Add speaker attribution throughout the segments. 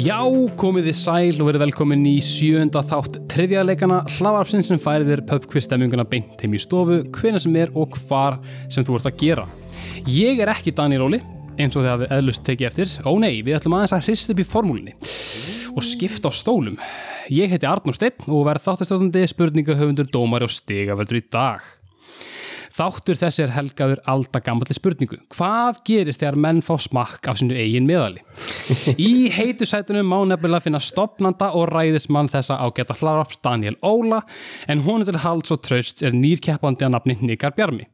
Speaker 1: Já, komið þið sæl og verið velkomin í sjöunda þátt trefjaðleikana hlaðvarpsinn sem færið þér pubquistemminguna beint heim í stofu, hvena sem er og hvar sem þú ert að gera. Ég er ekki Daniel Óli, eins og þið hafið eðlust tekið eftir. Ó nei, við ætlum aðeins að hrista upp í formúlinni og skipta á stólum. Ég heiti Arnur Steinn og verð þáttastjóðandi spurningahöfundur, dómari og stigaveldur í dag. Þáttur þessi er helgaður alltaf gammalli spurningu. Hvað gerist þegar menn fá smakk af sinu eigin meðali? Í heitu sætunum má nefnilega finna stopnanda og ræðismann þessa ágæta hlararps Daniel Óla en honum til halds og trösts er nýrkeppandi að nafni Nikar Bjarmi.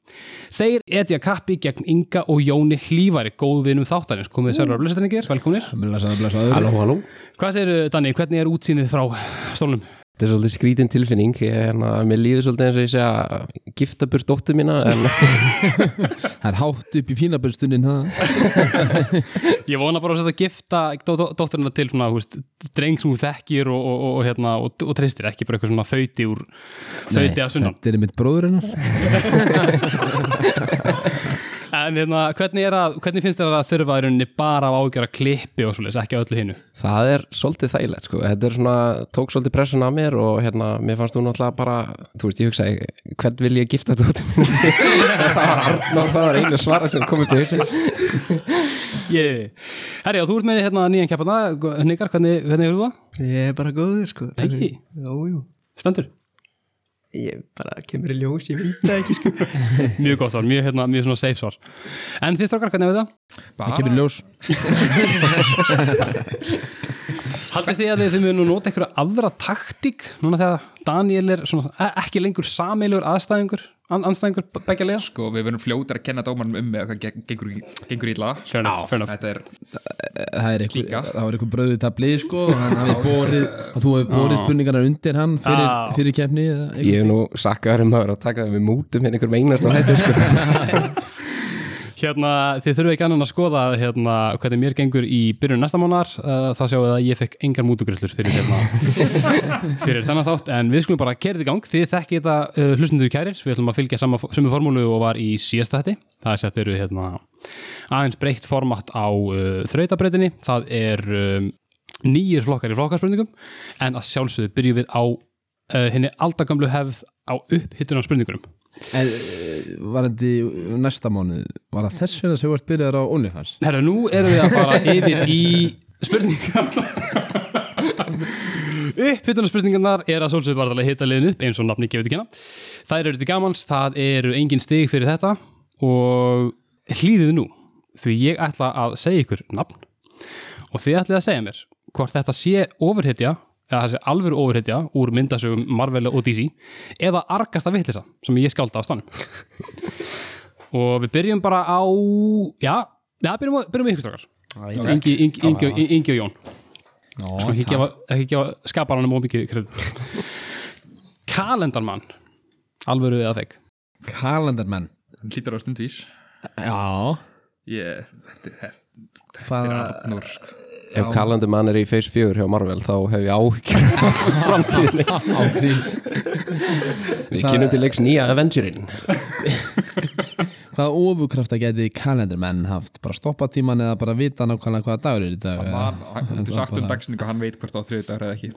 Speaker 1: Þeir etja kappi gegn Inga og Jóni Hlífari, góðvinum þáttarins. Komið sérur að blöðsætningir, velkominir.
Speaker 2: Blessaður, blessaður Halló, halló
Speaker 1: Hvað segir Dani, hvernig er útsýnið frá stólnum?
Speaker 2: Þetta er svolítið skrítin tilfinning ég, hérna, Mér líður svolítið eins og ég segja að Gifta burt dóttur mína en,
Speaker 3: Það er hátt upp í pínaböldstunnin
Speaker 1: Ég vona bara að þetta gifta dó- dó- dótturina til svona, hú veist, dreng sem hún þekkir og, og, og, og, hérna, og, og treystir ekki bara eitthvað svona þauti úr þauti að sunnan.
Speaker 3: Þetta er mitt bróður hennar
Speaker 1: En hérna, hvernig, er að, hvernig finnst þér að þurfa í rauninni bara að ágjöra klippi og svoleiðis, ekki á öllu hinu?
Speaker 2: Það er svolítið þægilegt sko. Þetta er svona, tók svolítið pressun af mér og hérna, mér fannst þú náttúrulega bara Þú veist, ég hugsaði, hvern vil ég gifta dóttur mína Það var Arnór, það var einu svara sem kom upp í hausin
Speaker 1: Yeah. Herri, og þú ert með hérna nýjan keppana, Nikar, hvernig, hvernig eru þú það?
Speaker 4: Ég er bara góður sko
Speaker 1: Ekki?
Speaker 4: Jú, jú
Speaker 1: Spendur?
Speaker 4: Ég bara kemur í ljós, ég veit það ekki sko
Speaker 1: Mjög gott svar, mjög, hérna, mjög svona safe svar. En þið strókar, hvernig er það?
Speaker 3: Það kemur í ljós
Speaker 1: Haldið þið að þið- þið munu nota einhverja aðra taktík núna þegar Daniel er svona, e- ekki lengur sameilugur aðstæðingur, an, anstæðingur begja lega?
Speaker 5: sko, við verðum fljótar að kenna dómanum um með hvað geng- gengur, gengur illa
Speaker 1: Fair enough, fair enough.
Speaker 5: þetta er,
Speaker 3: Það er einhver,
Speaker 5: Klíka.
Speaker 3: það var einhver bröðu tabli sko, og hann hafi borið, að þú hefur borið spurningarnar undir hann fyrir,
Speaker 1: Já.
Speaker 3: fyrir keppni eða eitthvað.
Speaker 2: Ég hef nú sakkaður um maður að taka við mútum hérna einhverjum einasta hætti sko.
Speaker 1: Hérna, þið þurfum ekki annan að skoða hérna, hvernig mér gengur í byrjun næsta mánar uh, þá sjáum við að ég fekk engar mútugryllur fyrir, hérna, fyrir þennan þátt en við skulum bara kerið í gang, þið þekki þetta uh, hlustundur kærir, við ætlum að fylgja sama, sömu formúlu og var í síðasta þetti það er sett eru hérna, aðeins breytt format á uh, þrautabreytinni það er um, nýjir flokkar í flokkarspurningum en að sjálfsögðu byrjum við á uh, henni aldagamlu hefð á upphittun á spurningunum
Speaker 3: En eh, var þetta næsta mánuð Var það þess vegna sem þú ert byrjaður á OnlyFans?
Speaker 1: Herra, nú erum við að fara yfir í spurningar Uppbytunarspurningarnar er að svolsögðu bara til að hita liðin upp eins og nafni gefur til kynna Þær eru til gamans, það eru engin stig fyrir þetta og hlýðið nú því ég ætla að segja ykkur nafn og þið ætlið að segja mér hvort þetta sé ofurhetja eða þessi alvöru ofurhetja úr myndasögum Marvel og DC eða argasta vitlisa sem ég skálda á stanum og við byrjum bara á já, já byrjum, á- byrjum við ykkur stakar Ingi, Ingi, Ingi, Ingi, Ingi og Jón Svo ekki gefa, ekki gefa skaparanum of mikið kredit Kalendarmann alvöru eða fekk
Speaker 3: Kalendarmenn
Speaker 5: hann hlýtur á stundvís
Speaker 3: Já
Speaker 5: ég, þetta er
Speaker 3: Hvað
Speaker 5: Arnur sko.
Speaker 2: Ef kalandi mann er í Face 4 hjá Marvel þá hef ég áhyggjur af framtíðinni
Speaker 3: ágríns
Speaker 2: Við kynum til leiks nýja Avengerin
Speaker 3: Hvað ofukrafta geti kalendarmenn haft? Bara stoppa tíman eða bara vita nákvæmlega hvaða dagur er í dag eða?
Speaker 5: Man, hann hann getur sagt um dagsinn og hann veit hvort á þriðið dagur eða ekki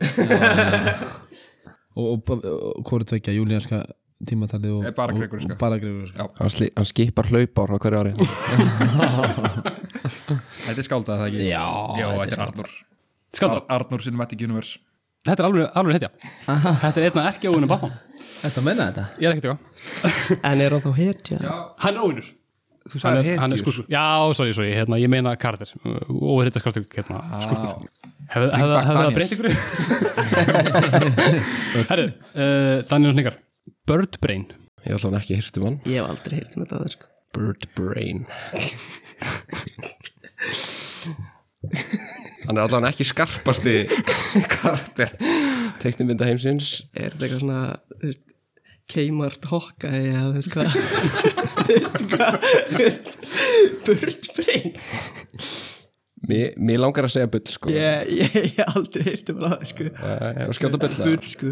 Speaker 3: og, og, og, og hvort tvekja júlíanska tímatalið og,
Speaker 5: Eh, bara
Speaker 3: og,
Speaker 5: Gregorska.
Speaker 3: og bara gregurska
Speaker 5: Já.
Speaker 2: Hann, sli, hann skipar hlaupár á hverju ári
Speaker 5: þetta er skáldað það ekki
Speaker 3: Já,
Speaker 5: þetta er Arnur
Speaker 1: Skáldað.
Speaker 5: Ar- Arnur Cinematic Universe
Speaker 1: Þetta er alveg, alveg hetja Þetta er einna ekki óvinnum Batman
Speaker 3: Þetta menna þetta?
Speaker 1: Ég er ekkert eitthvað
Speaker 4: En er hann þá hetja?
Speaker 1: Hann er óvinnur
Speaker 5: þú
Speaker 1: Hann
Speaker 5: sagði
Speaker 1: er, hann er
Speaker 5: hetjur
Speaker 1: skurkur Já, sorry, sorry, hérna, ég meina kardir Óverhita skartur, hérna, skurkur Hefði hefði-
Speaker 5: back
Speaker 1: hefði það
Speaker 5: Daniels.
Speaker 1: breytt ykkur? Herru, uh, Daniel Sningar Bird Brain
Speaker 2: Ég ætla hann ekki hýrstu mann
Speaker 4: Ég hef aldrei heyrt um þetta aður sko
Speaker 2: Bird Brain Hann er allavega ekki skarpasti karakter Teknimynda heimsins
Speaker 4: Er þetta eitthvað svona, þú veist Keimart hokka eða þú veist hvað Þú veist hvað, þú veist Börnbrein
Speaker 2: Mér, mér langar að segja bull sko
Speaker 4: Ég ég hef aldrei heyrt um þetta sko
Speaker 2: yeah. uh, Skjóta bull það
Speaker 4: Bull sko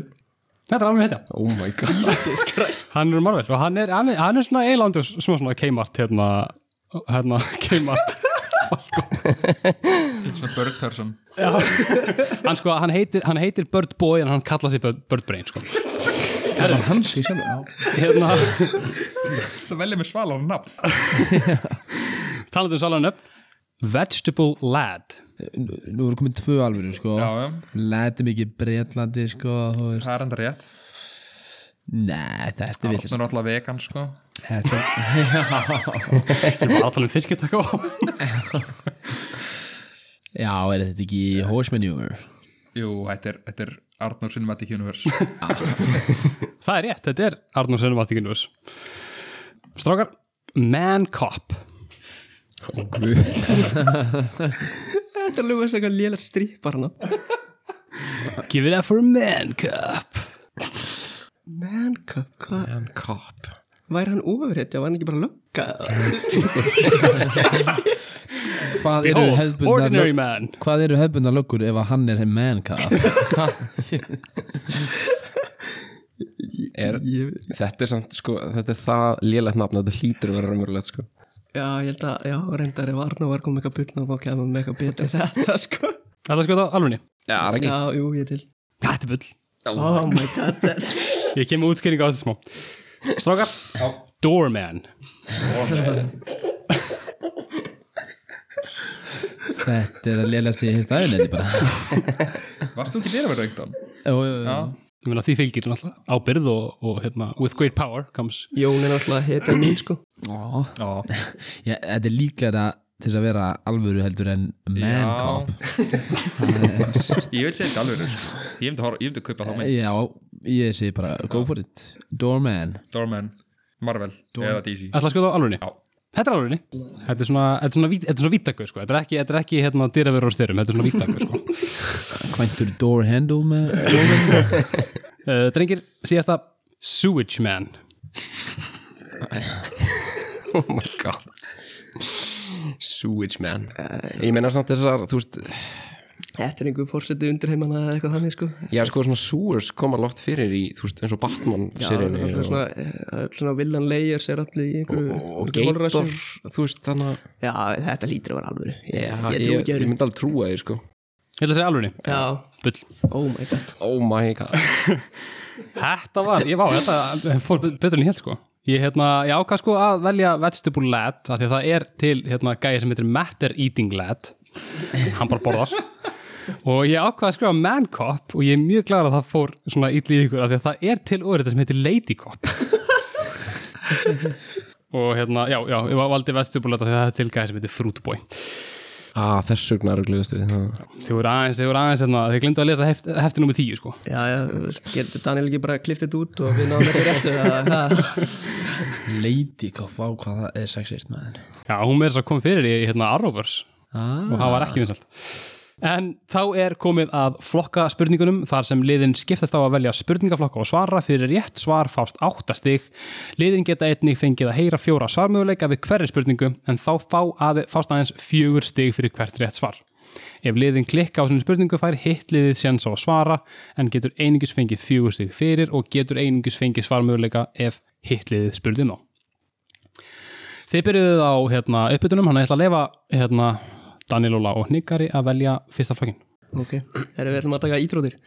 Speaker 1: Þetta er alveg hetja
Speaker 2: Oh my god
Speaker 4: Jesus Christ
Speaker 1: Hann er Marvel og hann er, hann er, hann er svona eilandur smá svona keimart hérna, hérna keimart Falcon
Speaker 5: Svona bird person
Speaker 1: hann, sko, hann, heitir, hann heitir Bird Boy en hann kallar sig Bird, Bird Brain sko.
Speaker 3: Kallar hann sig sjálf Já,
Speaker 1: hérna,
Speaker 5: Það velja mér svala á nafn
Speaker 1: talandi um salanöfn Vegetable Lad
Speaker 3: nú nú eru komið tvö alvöru, sko
Speaker 5: Já, já.
Speaker 3: Læti mikið bretlandi, sko þú veist.
Speaker 5: Það er enda rétt
Speaker 3: Nei, þetta er
Speaker 5: Það
Speaker 3: villist
Speaker 5: er alltaf vegan sko
Speaker 3: Þetta
Speaker 1: ég var að tala um fiskitakó
Speaker 3: Já, er þetta ekki horse manure?
Speaker 5: Jú, þetta er, þetta er Arnur Cinematic Universe
Speaker 1: það er rétt, þetta er Arnur Sönumáttíkinus strákar Man Cop
Speaker 4: Þetta er lúið sem eitthvað lélega strýpar hana
Speaker 1: give it up for Man Cop
Speaker 4: Man cup, hvað?
Speaker 2: Man cop
Speaker 4: Væri hann ofurhetja, var hann ekki bara lögga?
Speaker 3: Hvað eru
Speaker 1: Behold, ordinary
Speaker 3: hefðbundar
Speaker 1: man
Speaker 3: Hvað eru hefðbundar löggur ef að hann er sem man cop?
Speaker 2: er, Þetta er samt, sko, þetta er það lélegt nafn að þetta hlýtur að vera raunverulegt, sko
Speaker 4: Já, ég held að, já, reyndar ef Arnur var komið eitthvað byrna þá kemur með eitthvað betur þetta, sko
Speaker 1: Þetta sko þá alveg
Speaker 2: Já, það er ekki
Speaker 4: Já, jú, ég er til
Speaker 1: Þetta er bull
Speaker 4: Oh my god, that
Speaker 1: Ég kem með útskýringa á þetta smá Strákar Doorman
Speaker 3: Þetta er að lélega sig heilt aðeins þetta bara
Speaker 5: Varst þú ekki verið að vera einhvern
Speaker 3: Jú, jú, jú.
Speaker 1: Ég meina því fylgir náttúrulega ábyrð og, og hérna With great power comes
Speaker 4: Jón er náttúrulega heita mín, sko
Speaker 5: Já,
Speaker 3: Já, Þetta er líklega til þess að vera alvöru heldur en man
Speaker 5: Já.
Speaker 3: cop
Speaker 5: Ég vil segja þetta alveg sko. Ég myndi horf- ég myndi að kaupa þá með
Speaker 3: Já, ég segi bara go for it Doorman
Speaker 5: Dorman, Marvel eða DC
Speaker 1: Ætla sko þá alveg
Speaker 5: Já.
Speaker 1: Þetta er alveg Þetta er svona Þetta er svona, vít- þetta er svona vítakur sko Þetta er ekki, þetta er ekki hérna dyraverur og styrum Þetta er svona vítakur sko
Speaker 3: Kvæntur door handle man
Speaker 1: uh, Drengir, síðasta Sewage man
Speaker 2: Oh my god Sewage man Ég meina samt þessar, þú veist
Speaker 4: Þetta er einhver fórsetið undir heimana eða eitthvað þannig, sko
Speaker 2: Já, sko, svona sewers koma loft fyrir í, þú veist, eins og
Speaker 4: Já,
Speaker 2: Batman-seríunni
Speaker 4: alltaf
Speaker 2: og,
Speaker 4: svona, alltaf svona villan layers er allir í einhverju
Speaker 2: og, og
Speaker 4: einhverju holræsum.
Speaker 2: Gator, þú veist, þannig að
Speaker 4: Já, þetta lítur að vera alvöru Ég,
Speaker 2: Já,
Speaker 4: ég
Speaker 2: ég,
Speaker 4: trú
Speaker 2: ég,
Speaker 4: ekki öðru
Speaker 2: myndi alveg trúa því, sko
Speaker 1: Ég ætla að segja alveg
Speaker 4: Já,
Speaker 1: Bull
Speaker 4: oh my god
Speaker 2: Oh my god
Speaker 1: Þetta var, ég vá, þetta fór betur en ég held sko Ég hérna, ég ákvað sko að velja vegetable lad af því að það er til hérna gæði sem heitir matter eating lad hann bara borðar og ég ákvað að skrifa man cop og ég er mjög glæður að það fór svona ítli í ykkur af því að það er til orðið sem heitir lady cop og hérna, já, já, ég valdi vegetable lad af því að það er til gæði sem heitir fruit boy
Speaker 2: ah, Þess vegna eru glöðust við það.
Speaker 1: þau voru aðeins, þau voru aðeins hérna, þau glindu að lesa heft, hefti nummer 10 sko
Speaker 4: Já, já, getur Daniel ekki bara klift þetta út og við náðum ekki réttu það- það-
Speaker 3: Lady cop, vá hvað það er sexist maður
Speaker 1: Já, hún meira þess að kom fyrir í hérna Arrowverse
Speaker 3: Ah.
Speaker 1: og það var ekki vinsalt. En þá er komið að flokka spurningunum þar sem liðin skiptast á að velja spurningaflokka og svara fyrir rétt svar fást áttastig. Liðin geta einnig fengið að heyra fjóra svarmöguleika við hverri spurningu en þá fá að, fást aðeins fjögur stig fyrir hvert rétt svar. Ef liðin klikka á sinni spurningu fær hitt liðið séns á að svara en getur einingis fengið fjögur stig fyrir og getur einingis fengið svarmöguleika ef hitt liðið spurði nóg. Þið byrjuðuð á hérna, uppbytunum, hann ætla að lefa hérna, Daniel Óla og Hnyggari að velja fyrsta flokkin.
Speaker 4: Ok, erum við ætlum að taka íþrótir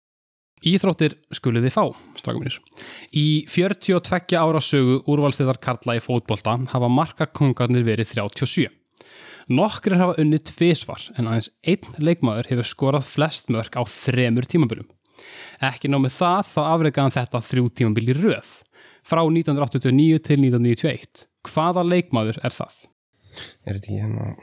Speaker 1: Íþróttir skuluð þið fá, strákum mínir. Í 42 ára sögu úrvalstiðar Karla í fótbolta hafa markakongarnir verið 37. Nokkrir hafa unnið tvisvar en aðeins einn leikmaður hefur skorað flest mörk á þremur tímabilum. Ekki nómið það þá afreikaðan þetta þrjú tímabil í röð frá 1989 til 1991. Hvaða leikmaður er það?
Speaker 2: Er þetta ekki hérna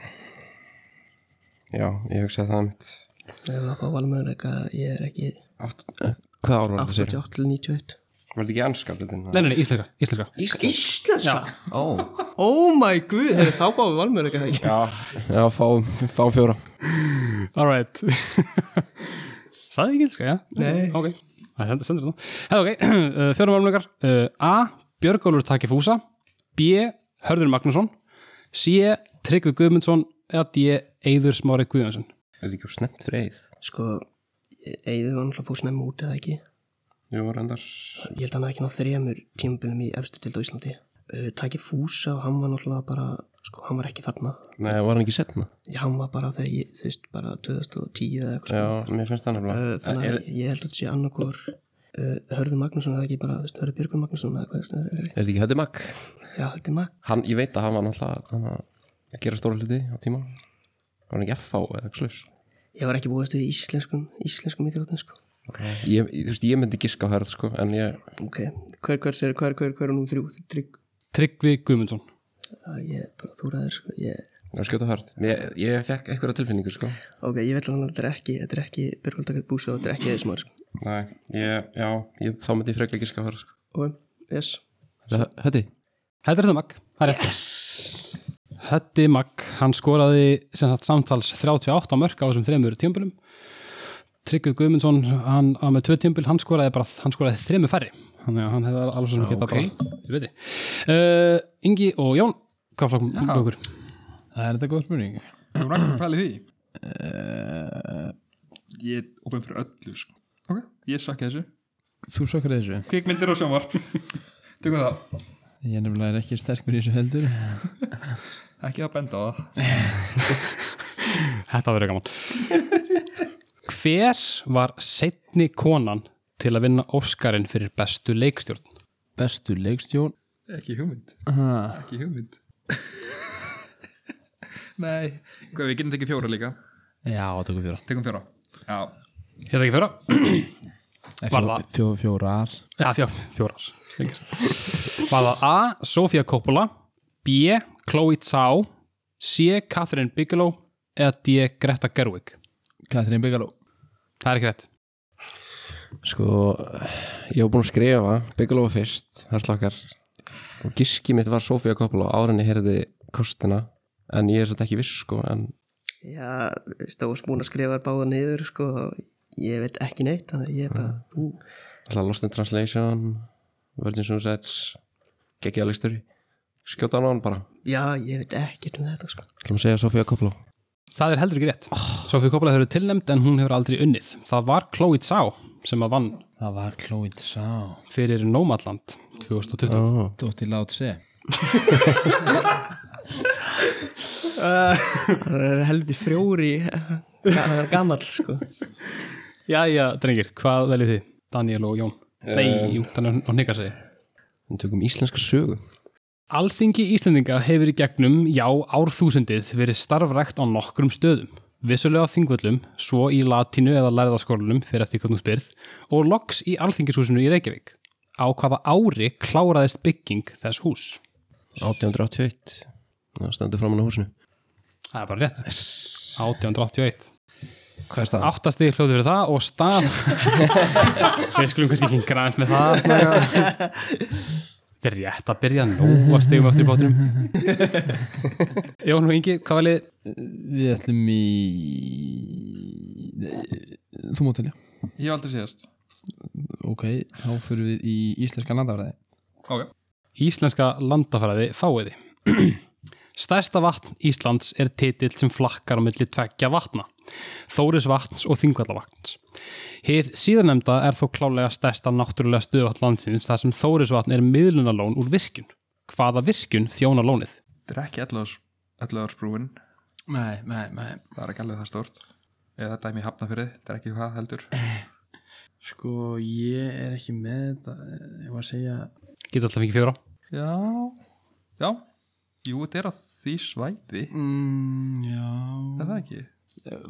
Speaker 2: Já, ég hugsaði það mitt
Speaker 4: Ef að fá valmöðuleika, ég er ekki
Speaker 2: Átt, eh, Hvað ár var þetta sér?
Speaker 4: 88 til 91
Speaker 2: Var þetta ekki anskap þetta? hérna?
Speaker 1: Nei, nei, nei, íslenska, íslenska.
Speaker 4: Íslenska? Ó Oh my god, heyrðu, þá fáum við valmöðuleika það ekki
Speaker 2: Já, já fáum, fáum fjóra
Speaker 1: Alright Saði ekki ílska, já?
Speaker 4: Nei.
Speaker 1: Ok, það sendur, sendur það Hefðu ok, uh, fjórum valmleikar uh, A. Björgólfur Takifúsa B. Hörður Magnússon C. Tryggvi Guðmundsson eða D. Eyður Smári Guðjónsson
Speaker 2: Er þetta ekki snemt freið?
Speaker 4: Sko, eigður var náttúrulega fór snemma út eða ekki
Speaker 2: Jú, reyndar
Speaker 4: Ég held að hann hafi ekki náð þremur tímabilum í efstu til á Íslandi uh, taki fúsa og hann var náttúrulega bara sko, hann var ekki þarna
Speaker 2: Nei, var hann ekki setna?
Speaker 4: Já, hann var bara þegar ég, þú veist, bara 2010 eða eitthvað sko.
Speaker 2: Já, mér finnst það
Speaker 4: uh,
Speaker 2: nefnilega
Speaker 4: þannig að ég held að þetta sé annarkor uh, Hörðu Magnússon eða ekki bara, þú veist, Hörðu Björgvin Magnússon eða hvað, er, er,
Speaker 2: Er þetta ekki Höddi Mag?
Speaker 4: já, þetta er Mag
Speaker 2: Hann, ég veit að hann var náttúrulega hann var að gera stóra hluti á tíma Var hann ekki FH eða eitthvað slags?
Speaker 4: Ég var ekki búið að stuði íslenskum íslenskum íþrótum, sko
Speaker 2: Ég, þú veist, ég myndi giska á hörð, sko, en ég
Speaker 4: Ok, hver, hver, hver, hver, hver, hver er nú þrjú, þrjú
Speaker 1: Tryggvi Guðmundsson
Speaker 4: Já, Eh, ég bara þúraðir, sko, ég
Speaker 2: ég var skjóta hörð Ég, ég fekk eitthvað tilfinningu, sko
Speaker 4: Ok, ég veit alveg að þetta er ekki, þetta er ekki Björgvaldakar Búsa og þetta er ekki þessi maður, sko
Speaker 2: Nei, ég, já, ég, þá myndi ég frekar giska á hörð, sko
Speaker 4: Ok, yes
Speaker 2: Þetta- Höddi?
Speaker 1: Þetta er Höddi Magg, það er rétt. Höddi Magg, hann skoraði sem sagt samtals 38 mörk á þessum þremur tímpilum. Tryggvi Guðmundsson, hann á með tvö tímpil, hann skoraði bara, hann skoraði þremur færri. Þannig að hann hefði alveg svona getað
Speaker 2: ok.
Speaker 1: bara, þið veitir. Uh, Ingi og Jón, hvað flokkum bökur?
Speaker 3: Það er þetta góð spurning
Speaker 5: Þú erum ekki pælið því Ég er opinn fyrir öllu sko. Eh, Ok, ég sakka þessu
Speaker 3: Þú sökkar þessu
Speaker 5: Kvikmyndir og sjónvarp Tökum það,
Speaker 3: Ég er nefnilega er ekki sterkur í þessu heldur
Speaker 5: ekki að benda á það
Speaker 1: Þetta verður gaman. Hver var setni konan til að vinna Óskarinn fyrir bestu leikstjórn?
Speaker 3: Bestu leikstjón
Speaker 5: Ekki hugmynd,
Speaker 3: ha,
Speaker 5: ekki hugmynd Nei Hvað, við getum tekið fjóra líka
Speaker 3: Já, tökum fjóra
Speaker 5: Tekum fjóra Já,
Speaker 1: Ég þetta ekki fjóra?
Speaker 3: Eh,
Speaker 1: Var
Speaker 3: fjó-
Speaker 1: það?
Speaker 3: fjó- Fjórar
Speaker 1: Já, fjó, fjórar. þykist. Var það A. Sofía Coppola, B. Chloe Zhao, C. Catherine Bigelow eða D. Greta Gerwig?
Speaker 3: Katrín Byggaló
Speaker 1: Það er ekki rétt.
Speaker 2: Sko, ég var búin að skrifa Bigelow fyrst, hörslakkar og giski mitt var Sofía Coppola áður en ég heyrði kostina en ég er satt ekki viss, sko en
Speaker 4: Já, stóðs búin að skrifa þær báða niður, sko og Ég veit ekki neitt, þannig að ég bara, ú
Speaker 2: alltaf Lost in Translation Virgin Suicides geggið að leiksturi skjóta hann á hann bara,
Speaker 4: Já, ég veit ekkert um þetta, sko
Speaker 2: ætlum að segja Sofía Coppola
Speaker 1: Það er heldur ekki rétt. Sofía Coppola hefur verið tilnefnd en hún hefur aldrei unnið. Það var Chloe Zhao sem að vann
Speaker 3: Það var Chloe Zhao
Speaker 1: fyrir Nomadland 2020.
Speaker 2: oh.
Speaker 3: Dótti lát se
Speaker 4: Það er helviti frjóri gamall, sko
Speaker 1: Jæja, drengir, hvað veljið þið? Daniel og Jón. Nei, jú, þannig að hún hnikkar sig.
Speaker 2: við tökum íslenska sögu
Speaker 1: Alþingi Íslendinga hefur í gegnum, já, árþúsundið verið starfrækt á nokkrum stöðum. Vissulega á þingvöllum, svo í latínu eða læriðaskólanum fyrir eftir hvernig þú spyrð og loks í Alþingishúsinu í Reykjavík. Á hvaða ári kláraðist bygging þess hús?
Speaker 2: 1881 það stendur framann á húsinu
Speaker 1: Það er bara rétt. 1881.
Speaker 2: hvað er staðan?
Speaker 1: Áttasti hljóði fyrir það og stað. Við skulum kannski ekki grænt með það. Snaga. Þetta er rétt að byrja nú að stegum eftir bátunum. Jón og Ingi, hvað valið?
Speaker 3: Við ætlum í Þú mátt telja
Speaker 5: ég hef aldrei séðast
Speaker 3: Ok, þá fyrir við í íslenska landafræði
Speaker 5: Ok,
Speaker 1: Íslenska landafræði fáiði. Stærsta vatn Íslands er titill sem flakkar á milli tveggja vatna, Þóris vatns og Þingvallavatns. Hið síðanemda er þó klálega stærsta náttúrulega stöðvatt landsins þar sem Þóris vatn er miðlunalón úr virkun. Hvaða virkun þjónar lónið?
Speaker 5: þetta er ekki elluðarsbrúin
Speaker 3: Nei, nei, nei
Speaker 5: Það er ekki alveg það stort Eða dæmi hafna fyrir, þetta er ekki hvað heldur
Speaker 3: Sko, ég er ekki með þetta Ég var að segja
Speaker 1: Geta alltaf fengið fjóra.
Speaker 5: Já Já, jú, þetta er á því svæði
Speaker 3: mm, Já
Speaker 5: Er það ekki?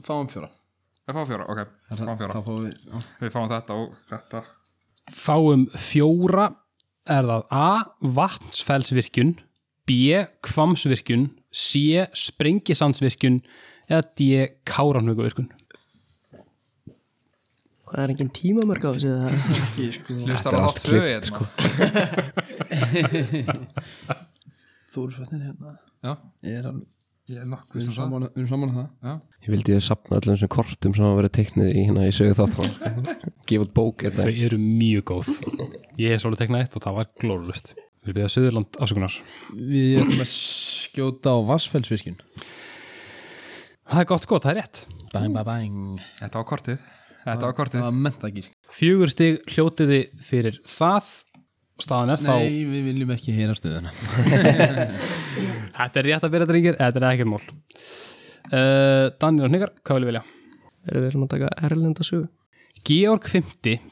Speaker 3: Fáum fjóra
Speaker 5: Við fáum fjóra, ok, fáum fjóra
Speaker 3: Þá fáum við já.
Speaker 5: Við fáum þetta og þetta
Speaker 1: Fáum fjóra er það A. Vatnsfellsvirkjun, B. Kvamsvirkjun, C. Sprengisandsvirkjun eða D. Káranhugavirkjun.
Speaker 4: Það er engin tímamörk á þessu það
Speaker 5: Hlustar á þátt tvö hérna
Speaker 3: sko. Þórsvötnin hérna
Speaker 5: Já,
Speaker 3: Ég er alveg
Speaker 5: ég
Speaker 3: Við
Speaker 5: er nokkuð
Speaker 3: erum
Speaker 5: sem það
Speaker 3: saman, við erum saman að það
Speaker 5: Já,
Speaker 2: ég vildi ég sapna öllum þessum kortum sem hafa verið teiknið í hérna í sögu þáttan gefa út bók er það
Speaker 1: Þau eru mjög góð. Ég er svolítið teknað eitt og það var glórulust. Við byrjaðum Suðurland afsökunar.
Speaker 3: Við erum að skjóta á Vassfellsvirkjun
Speaker 1: Það er gott sko, það er rétt.
Speaker 3: Bang, bang, bang
Speaker 5: þetta var kortið Þetta var kortið
Speaker 3: Það var mentagísk
Speaker 1: Fjögur stig hljótiði fyrir það staðan er þá
Speaker 3: Nei, við viljum ekki heyra stöðuna
Speaker 1: Þetta er rétt að byrja drengir, þetta er ekkert mál uh, Daniel og Hnigar, hvað vil ég velja?
Speaker 4: Erum við erum að taka erlenda sögu?
Speaker 1: Georg V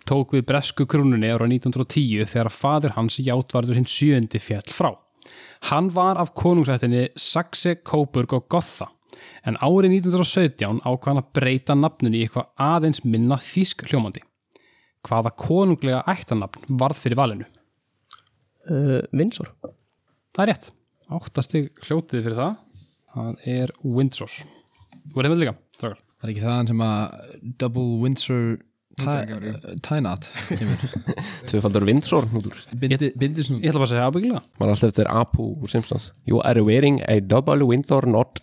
Speaker 1: tók við bresku krúnunni ára 1910 þegar fadir hans játvarður hinn sjöndi fjall frá. Hann var af konungrættinni Saxe, Kóburg og Gotha en árið 1917 ákvað hann að breyta nafninu í eitthvað aðeins minna þýsk hljómandi. Hvaða konunglega ættanafn varð fyrir valinu?
Speaker 4: Uh, Vinsor.
Speaker 1: Það er rétt. Áttastig hljótið fyrir það. Það er Windsor. Þú er heimil líka, strákar.
Speaker 3: Það er ekki þaðan sem að Double Windsor eh, Tynat
Speaker 2: Tvöfaldur Windsor nútur
Speaker 3: Bindisnúð
Speaker 1: Ég ætla bara að segja ábyggilega.
Speaker 2: Man er alltaf eftir Apu úr Simpsons You are wearing a double Windsor knot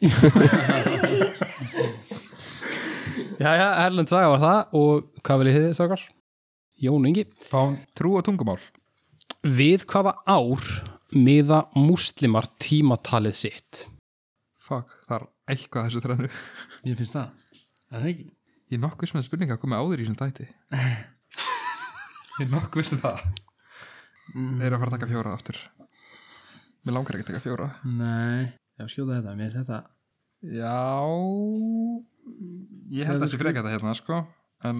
Speaker 1: Jæja, Erlend Saga var það og hvað vil ég þið, strákar? Jón Ingi.
Speaker 5: Fáum trú og tungumál
Speaker 1: Við hvaða ár miða múslimar tímatalið sitt?
Speaker 5: Fuck, það er eitthvað að þessu þrænu
Speaker 3: Ég finnst það Er það ekki?
Speaker 5: Ég er nokkuð sem að spurninga að koma áður í þessum tæti Ég er nokkuð sem það
Speaker 3: Mm.
Speaker 5: Þeir eru að fara að taka fjóra aftur Mér langar ekki að taka fjóra
Speaker 3: Nei Já, skjóta þetta, mér þetta
Speaker 5: Já Ég held að þessi frekja þetta hérna sko En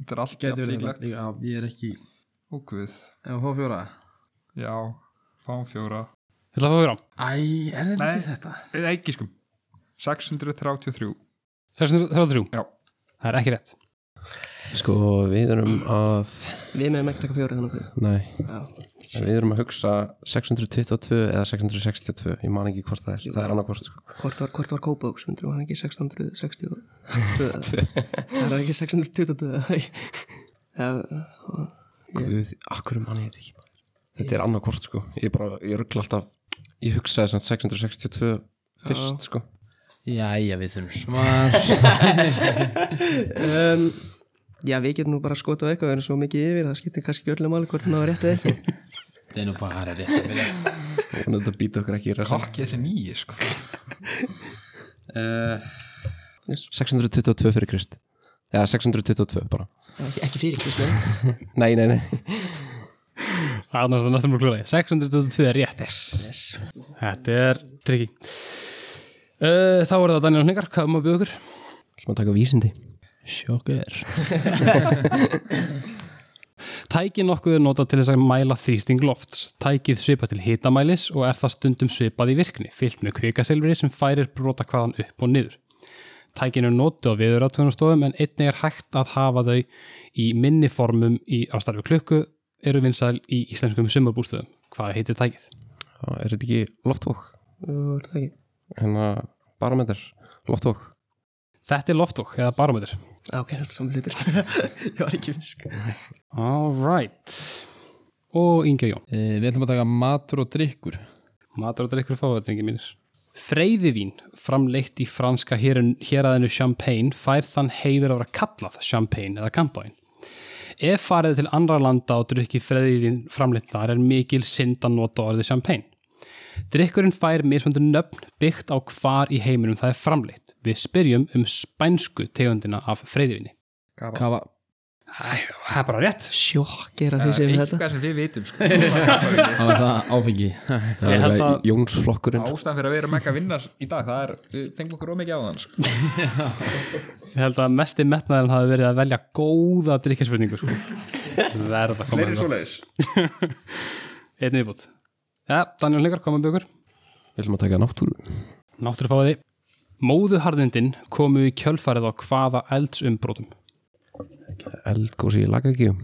Speaker 5: þetta er allt
Speaker 3: Gæti
Speaker 5: jafn
Speaker 3: verið
Speaker 5: líklegt
Speaker 3: þetta Já, ég er ekki Ef
Speaker 5: Og guð
Speaker 3: hún fjóra
Speaker 5: Já, fáum fjóra
Speaker 1: Ég ætla að fá fjóra.
Speaker 3: Æ, er þetta
Speaker 5: Nei.
Speaker 3: ekki þetta?
Speaker 5: Eða ekki skum 633
Speaker 1: 633.
Speaker 5: Já,
Speaker 1: Það er ekki rétt.
Speaker 2: Sko við erum að
Speaker 4: Við meðum ekki taka fjóra þannig að
Speaker 2: Nei,
Speaker 4: Já.
Speaker 2: við erum að hugsa 622 eða 662 Ég man ekki hvort það er, það er annarkvort sko.
Speaker 4: Hvort var, hvort var Kópavóks, myndir var hann ekki 1662? Það er ekki 622? Já,
Speaker 2: Guð, akkur manni ég þetta ekki maður. Þetta er annarkvort sko Ég bara, ég ruggla alltaf Ég hugsaði sem 662 fyrst sko
Speaker 3: Jæja, við þurfum svar
Speaker 4: um, já, við getum nú bara að skota á eitthvað, við erum svo mikið yfir, það skiptir kannski ekki öllu máli hvort hann var rétt eða ekki.
Speaker 3: Það er nú bara rétt að byrja
Speaker 2: Og þetta býta okkur ekki í resa
Speaker 5: kokki þessi nýji sko
Speaker 2: 622 fyrir Krist Já, 622 bara
Speaker 4: Ekki, ekki fyrir Kristi.
Speaker 2: Nei, nei, nei
Speaker 1: Það er náttúrulega næstum mjög klúlega. 622 er rétt. Yes. Þetta er tryggi. Uh, þá er það Daniel Hningar, hvað má bjóða ykkur?
Speaker 2: Ætlum að taka vísindi
Speaker 3: Sjókur
Speaker 1: Tæki nokkuð er notað til þess að mæla þrýsting lofts. Tækið svipað til hitamælis og er það stundum svipað í virkni, fyllt með kvikasilfri sem færir brota hvaðan upp og niður. Tækin er notið á viðurátunastofum en einnig er hægt að hafa þau í minni formum í ástarfi klukku eru vinsæl í íslenskum sumarbústöðum. Hvað heitir tækið?
Speaker 2: Já, Er þetta ekki loftvók?
Speaker 4: Þú er það ekki.
Speaker 2: Hérna, barometer, loftvók
Speaker 1: Þetta er loftók eða barometer.
Speaker 4: Á, ok, þetta er saman litur. ég var ekki fisk.
Speaker 1: All right. Og Inga Jón.
Speaker 3: Eh, Við ætlum að taka matur og drikkur
Speaker 1: Matur og drikkur fávætingi mínir. Freyðivín, framleitt í franska hérun- héraðinu Champagne, fær þann heiður að vera kallað Champagne eða Campagne. Ef farið til andra landa og drukki freyðivín framleitt þar er mikil synd að nota orðið Champagne. Drikkurinn fær mismöndu nöfn byggt á hvar í heiminum það er framleitt. Við spyrjum um spænsku tegundina af freyðivíni.
Speaker 3: Kafa
Speaker 1: Æ, Það er bara rétt.
Speaker 4: Sjokk er að því sem þetta.
Speaker 5: Eitthvað sem við vitum sko
Speaker 3: Það var það áfengi
Speaker 1: Ég held að-
Speaker 2: Jónsflokkurinn
Speaker 5: Ástæðan fyrir að við erum ekki að vinna í dag Það er, við fengum okkur ómikið á þann sko
Speaker 1: Ég held að mesti metnaðin hafi verið að velja góða drikkjaspurningu sko. Verð að koma
Speaker 5: Fleiri svoleiðis
Speaker 1: Einn viðbútt Já, Daniel Hlingar, koma byggur
Speaker 2: Við ætlum að taka náttúru
Speaker 1: Náttúrufáði Móðuharðindin komu í kjölfarið á hvaða eldsumbrotum
Speaker 2: Eldgósi í lagagíu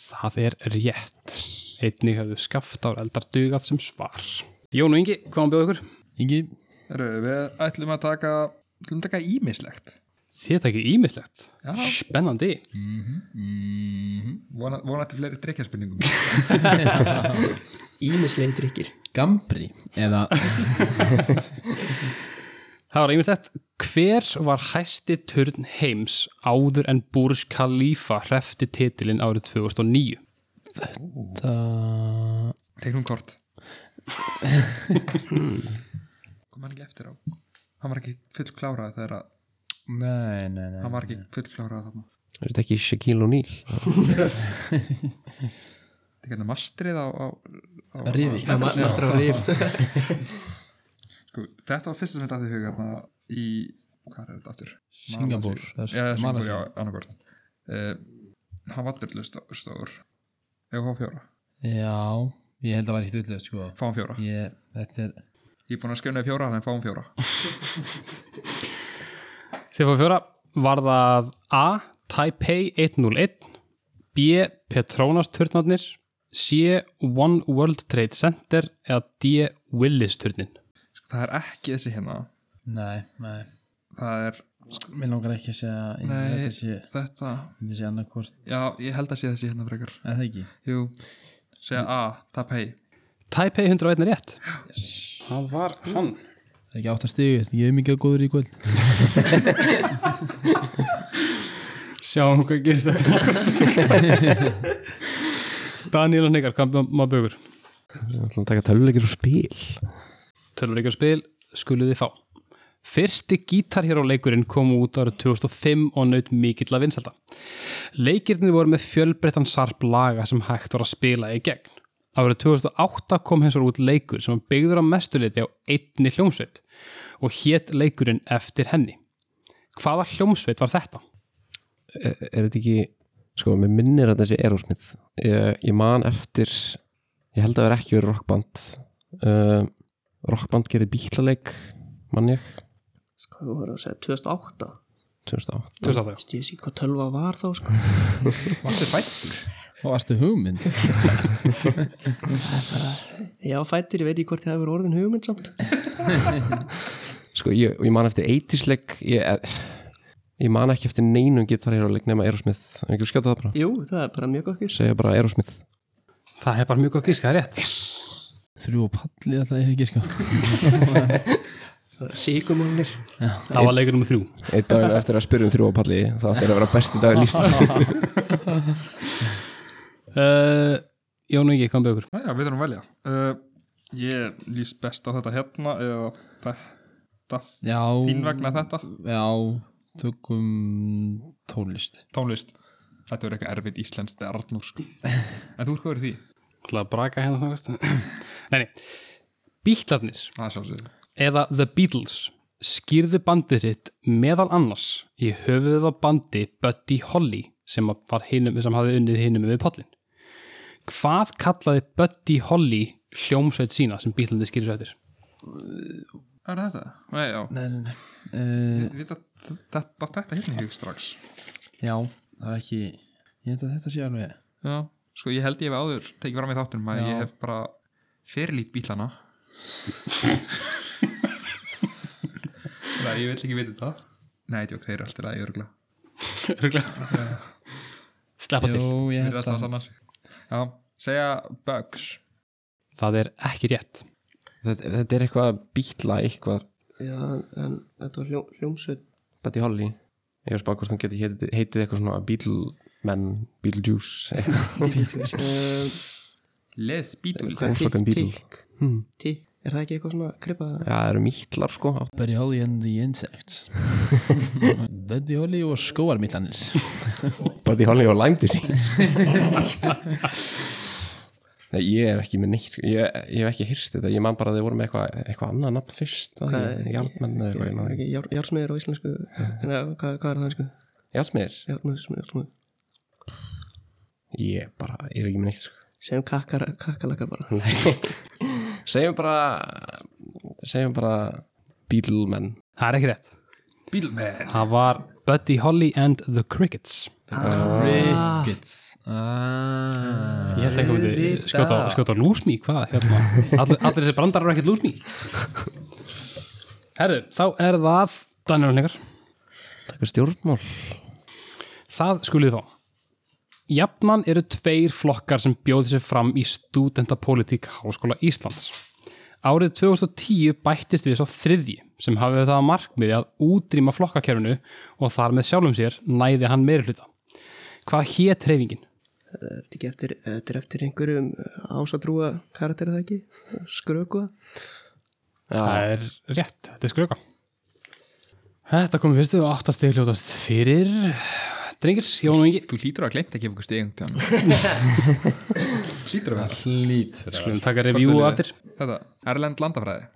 Speaker 1: Það er rétt Einnig hafðu skaft á eldar dugað sem svar Jón og Ingi, koma byggur ykkur
Speaker 3: Ingi
Speaker 5: Heru, Við ætlum að taka ætlum að taka ímislegt
Speaker 1: Þið takið ímislegt
Speaker 5: Já.
Speaker 1: Spennandi
Speaker 5: Vona, vona til fleiri drikkjarspurningum
Speaker 4: Ímislegi drikkir.
Speaker 3: Gambri Eða
Speaker 1: Það var ímislegt Hver var hæsti turn heims áður en Burj Khalifa hrefti titilinn árið 2009?
Speaker 5: Tegnum kort Kom hann ekki eftir á Hann var ekki full klárað þegar að
Speaker 3: Nei, nei, nei
Speaker 5: Hann var ekki full klárað þarna
Speaker 2: Er þetta ekki Shaquille O'Neal?
Speaker 5: Þetta er hérna mastrið á, á, á
Speaker 3: Rifi.
Speaker 5: á-
Speaker 4: ma- master á rif
Speaker 5: Sko, þetta var fyrst sem þetta að þið huga hérna, í, hvað er þetta aftur?
Speaker 3: Singapore,
Speaker 5: Malasíu.
Speaker 3: eða
Speaker 5: Já, Singapore,
Speaker 3: Malasíu.
Speaker 5: já, annarkort uh, Hann var dillust stór Ég fá fjóra,
Speaker 3: Já, ég held að það var ekkert villega sko
Speaker 5: fáum fjóra
Speaker 3: Ég, þetta er
Speaker 5: Ég er búin að skjöna fjóra, en fáum fjóra
Speaker 1: Þegar fór fjóra var það A. Taipei 101 B. Petronas turnarnir C. One World Trade Center eða D. Willis turnin
Speaker 5: sko, Það er ekki þessi hérna
Speaker 6: Nei, nei,
Speaker 5: Það er,
Speaker 6: mér langar ekki að segja ég-
Speaker 5: nei,
Speaker 6: þetta sé,
Speaker 5: þetta
Speaker 6: þetta sé annarkvort
Speaker 5: Já, ég held að sé þessi hérna frekar
Speaker 6: eða það ekki
Speaker 5: Jú, segja A, tap hei
Speaker 1: Taipei 101 er rétt Það var hann
Speaker 3: Það er ekki átt að stigu, ég er mikið góður í kvöld
Speaker 1: Sjáum hvað gerist þetta Daniel og Nikar, hvað maður bögur?
Speaker 2: Við ætlum að taka töluleikir og spil
Speaker 1: Tölvuleikar spil skuluð þið fá Fyrsti gítarhjáróleikurinn kom út árið 2005 og naut mikill að vinselda. Leikirnir voru með fjölbreyttan sarp laga sem hægt var að spila í gegn. Árið 2008 kom hins vegar út leikur sem var byggður á mestuleiti á einni hljómsveit og hétt leikurinn eftir henni. Hvaða hljómsveit var þetta?
Speaker 2: er, er þetta ekki sko, mér minnir að þessi Aerosmith ég, ég man eftir ég held að það er ekki verið rockband uh, rockband gerir bílaleik mann ég
Speaker 4: sko, þú voru að segja 2008
Speaker 2: 2008
Speaker 1: 2008.
Speaker 4: ég sé hvað tölva var þá sko.
Speaker 5: Varstu fættur?
Speaker 3: Og aðstu hugmynd
Speaker 4: ég á fættur, ég veit ekki hvort ég hefur orðin hugmynd samt
Speaker 2: sko, ég, og ég man eftir 80s leik ég, eh, ég man ekki eftir neinum gitar hér nema Aerosmith en ekki skjóta það bara
Speaker 4: jú, það er bara mjög gott gís
Speaker 2: segja bara Aerosmith
Speaker 1: Það er bara mjög gott gíska, það er rétt.
Speaker 3: Þrjú og palli alltaf ég ekki sko
Speaker 4: síkumónir
Speaker 1: Það var leikur nummer þrjú.
Speaker 2: einn daginn eftir að spyrja um þrjú á palli það átti að vera besti dagur líst
Speaker 1: Uh, Jón og Ingi, hvað með ykkur?
Speaker 5: Ah, Já, við þurfum að velja uh, Ég líst best á þetta hérna eða þetta
Speaker 3: Já,
Speaker 5: Þín vegna þetta
Speaker 3: já, tökum tónlist
Speaker 5: Tónlist Þetta verður eitthvað erfitt íslenskt eða arnur sko En þú skoður því
Speaker 1: ætla að braka hérna þangast Nei, nei, Bítlarnir
Speaker 5: Það sjálfsögðu
Speaker 1: eða The Beatles skýrðu bandið sitt meðal annars í höfuðið á bandi Buddy Holly sem, að var hinum, sem hafði unnið hinum við pollin Hvað kallaði Buddy Holly hljómsveit sína sem Bítlarnir skýrðu svo eftir?
Speaker 5: Er þetta? Nei, já
Speaker 6: Nei, nei, nei uh,
Speaker 5: Við þetta, þetta, þetta hérna í hug strax
Speaker 6: Já, það er ekki Ég held að þetta sé alveg
Speaker 5: Já Sko ég held ég hef áður tekið fram í þáttunum að ég hef bara fyrirlít bílana Nei, ég vill ekki vita þetta Nei, djók, þeir eru alltaf að ég örgla
Speaker 1: Örugglega. Sleppa til
Speaker 6: Jú, ég
Speaker 5: Þeir
Speaker 6: held
Speaker 5: eru alltaf að
Speaker 6: að
Speaker 5: sanna sig Já, segja Bugs
Speaker 1: Það er ekki rétt
Speaker 2: þetta, þetta er eitthvað bíla eitthvað
Speaker 4: já, en þetta var hljó, hljómsveit
Speaker 2: Buddy Holly ég var spáð hvort hún geti heitið, heitið eitthvað svona Beatleman, Beetlejuice eitthvað.
Speaker 4: uh,
Speaker 5: Les
Speaker 4: Eh,
Speaker 5: Beatles
Speaker 2: Hljómsveitin Beatles.
Speaker 4: tík, er það ekki eitthvað svona kripað
Speaker 2: já, það eru mítlar sko
Speaker 6: Buddy Holly and the Insects Buddy Holly og skóarmillanir
Speaker 2: Buddy Holly og Lime Disease Nei, ég er ekki með neitt sko. ég, ég hef ekki hyrst þetta, ég man bara að þið voru með eitthvað eitthvað annað nafn fyrst var það ekki? Járnmenn eða eitthvað, ég man það ekki.
Speaker 4: ekki jár, jársmiður á íslensku en, eh, hvað, hvað er það sko
Speaker 2: Járnsmiðir,
Speaker 4: járnsmiður, járnsmiður
Speaker 2: ég bara ég er ekki með neitt sko.
Speaker 4: segjum kakkar, kakkalakar bara Eh,
Speaker 2: segjum bara segjum bara Beatleman
Speaker 1: Það er ekki rétt
Speaker 5: Beatleman
Speaker 1: Það var Buddy Holly and the Crickets
Speaker 6: Crickets ah.
Speaker 1: Ég held ekki að myndi skjóta, á- skjóta á lúsmí, hvað? Hérna, allir, allir þessi brandar eru ekkert lúsmí. Herru, þá er það Daniel Henningar.
Speaker 2: Takk er stjórnmál
Speaker 1: Það skulið þá. Jafnan eru tveir flokkar sem bjóði sér fram í studentapolítík Háskóla Íslands. Árið 2010 bættist við sá þriðji sem hafið það að markmiði að útrýma flokkakerfinu og þar með sjálfum sér næði hann meiri hluta. Hvað hétt reyfingin?
Speaker 4: þetta er ekki eftir, eh, þetta er eftir einhverjum eh, ásatrúa karakter er það ekki skröku
Speaker 1: Það er rétt, þetta er skröka Þetta komið fyrstu og áttast þig hljótast fyrir Drengir, Jón og Ingi,
Speaker 5: Þú hlýtur að glemt að gefa ykkur stegum til hann Hlýtur að vera
Speaker 1: skulum taka review á
Speaker 5: Hvort
Speaker 1: eftir.
Speaker 5: þau liðu? Þetta, Erlend landafræði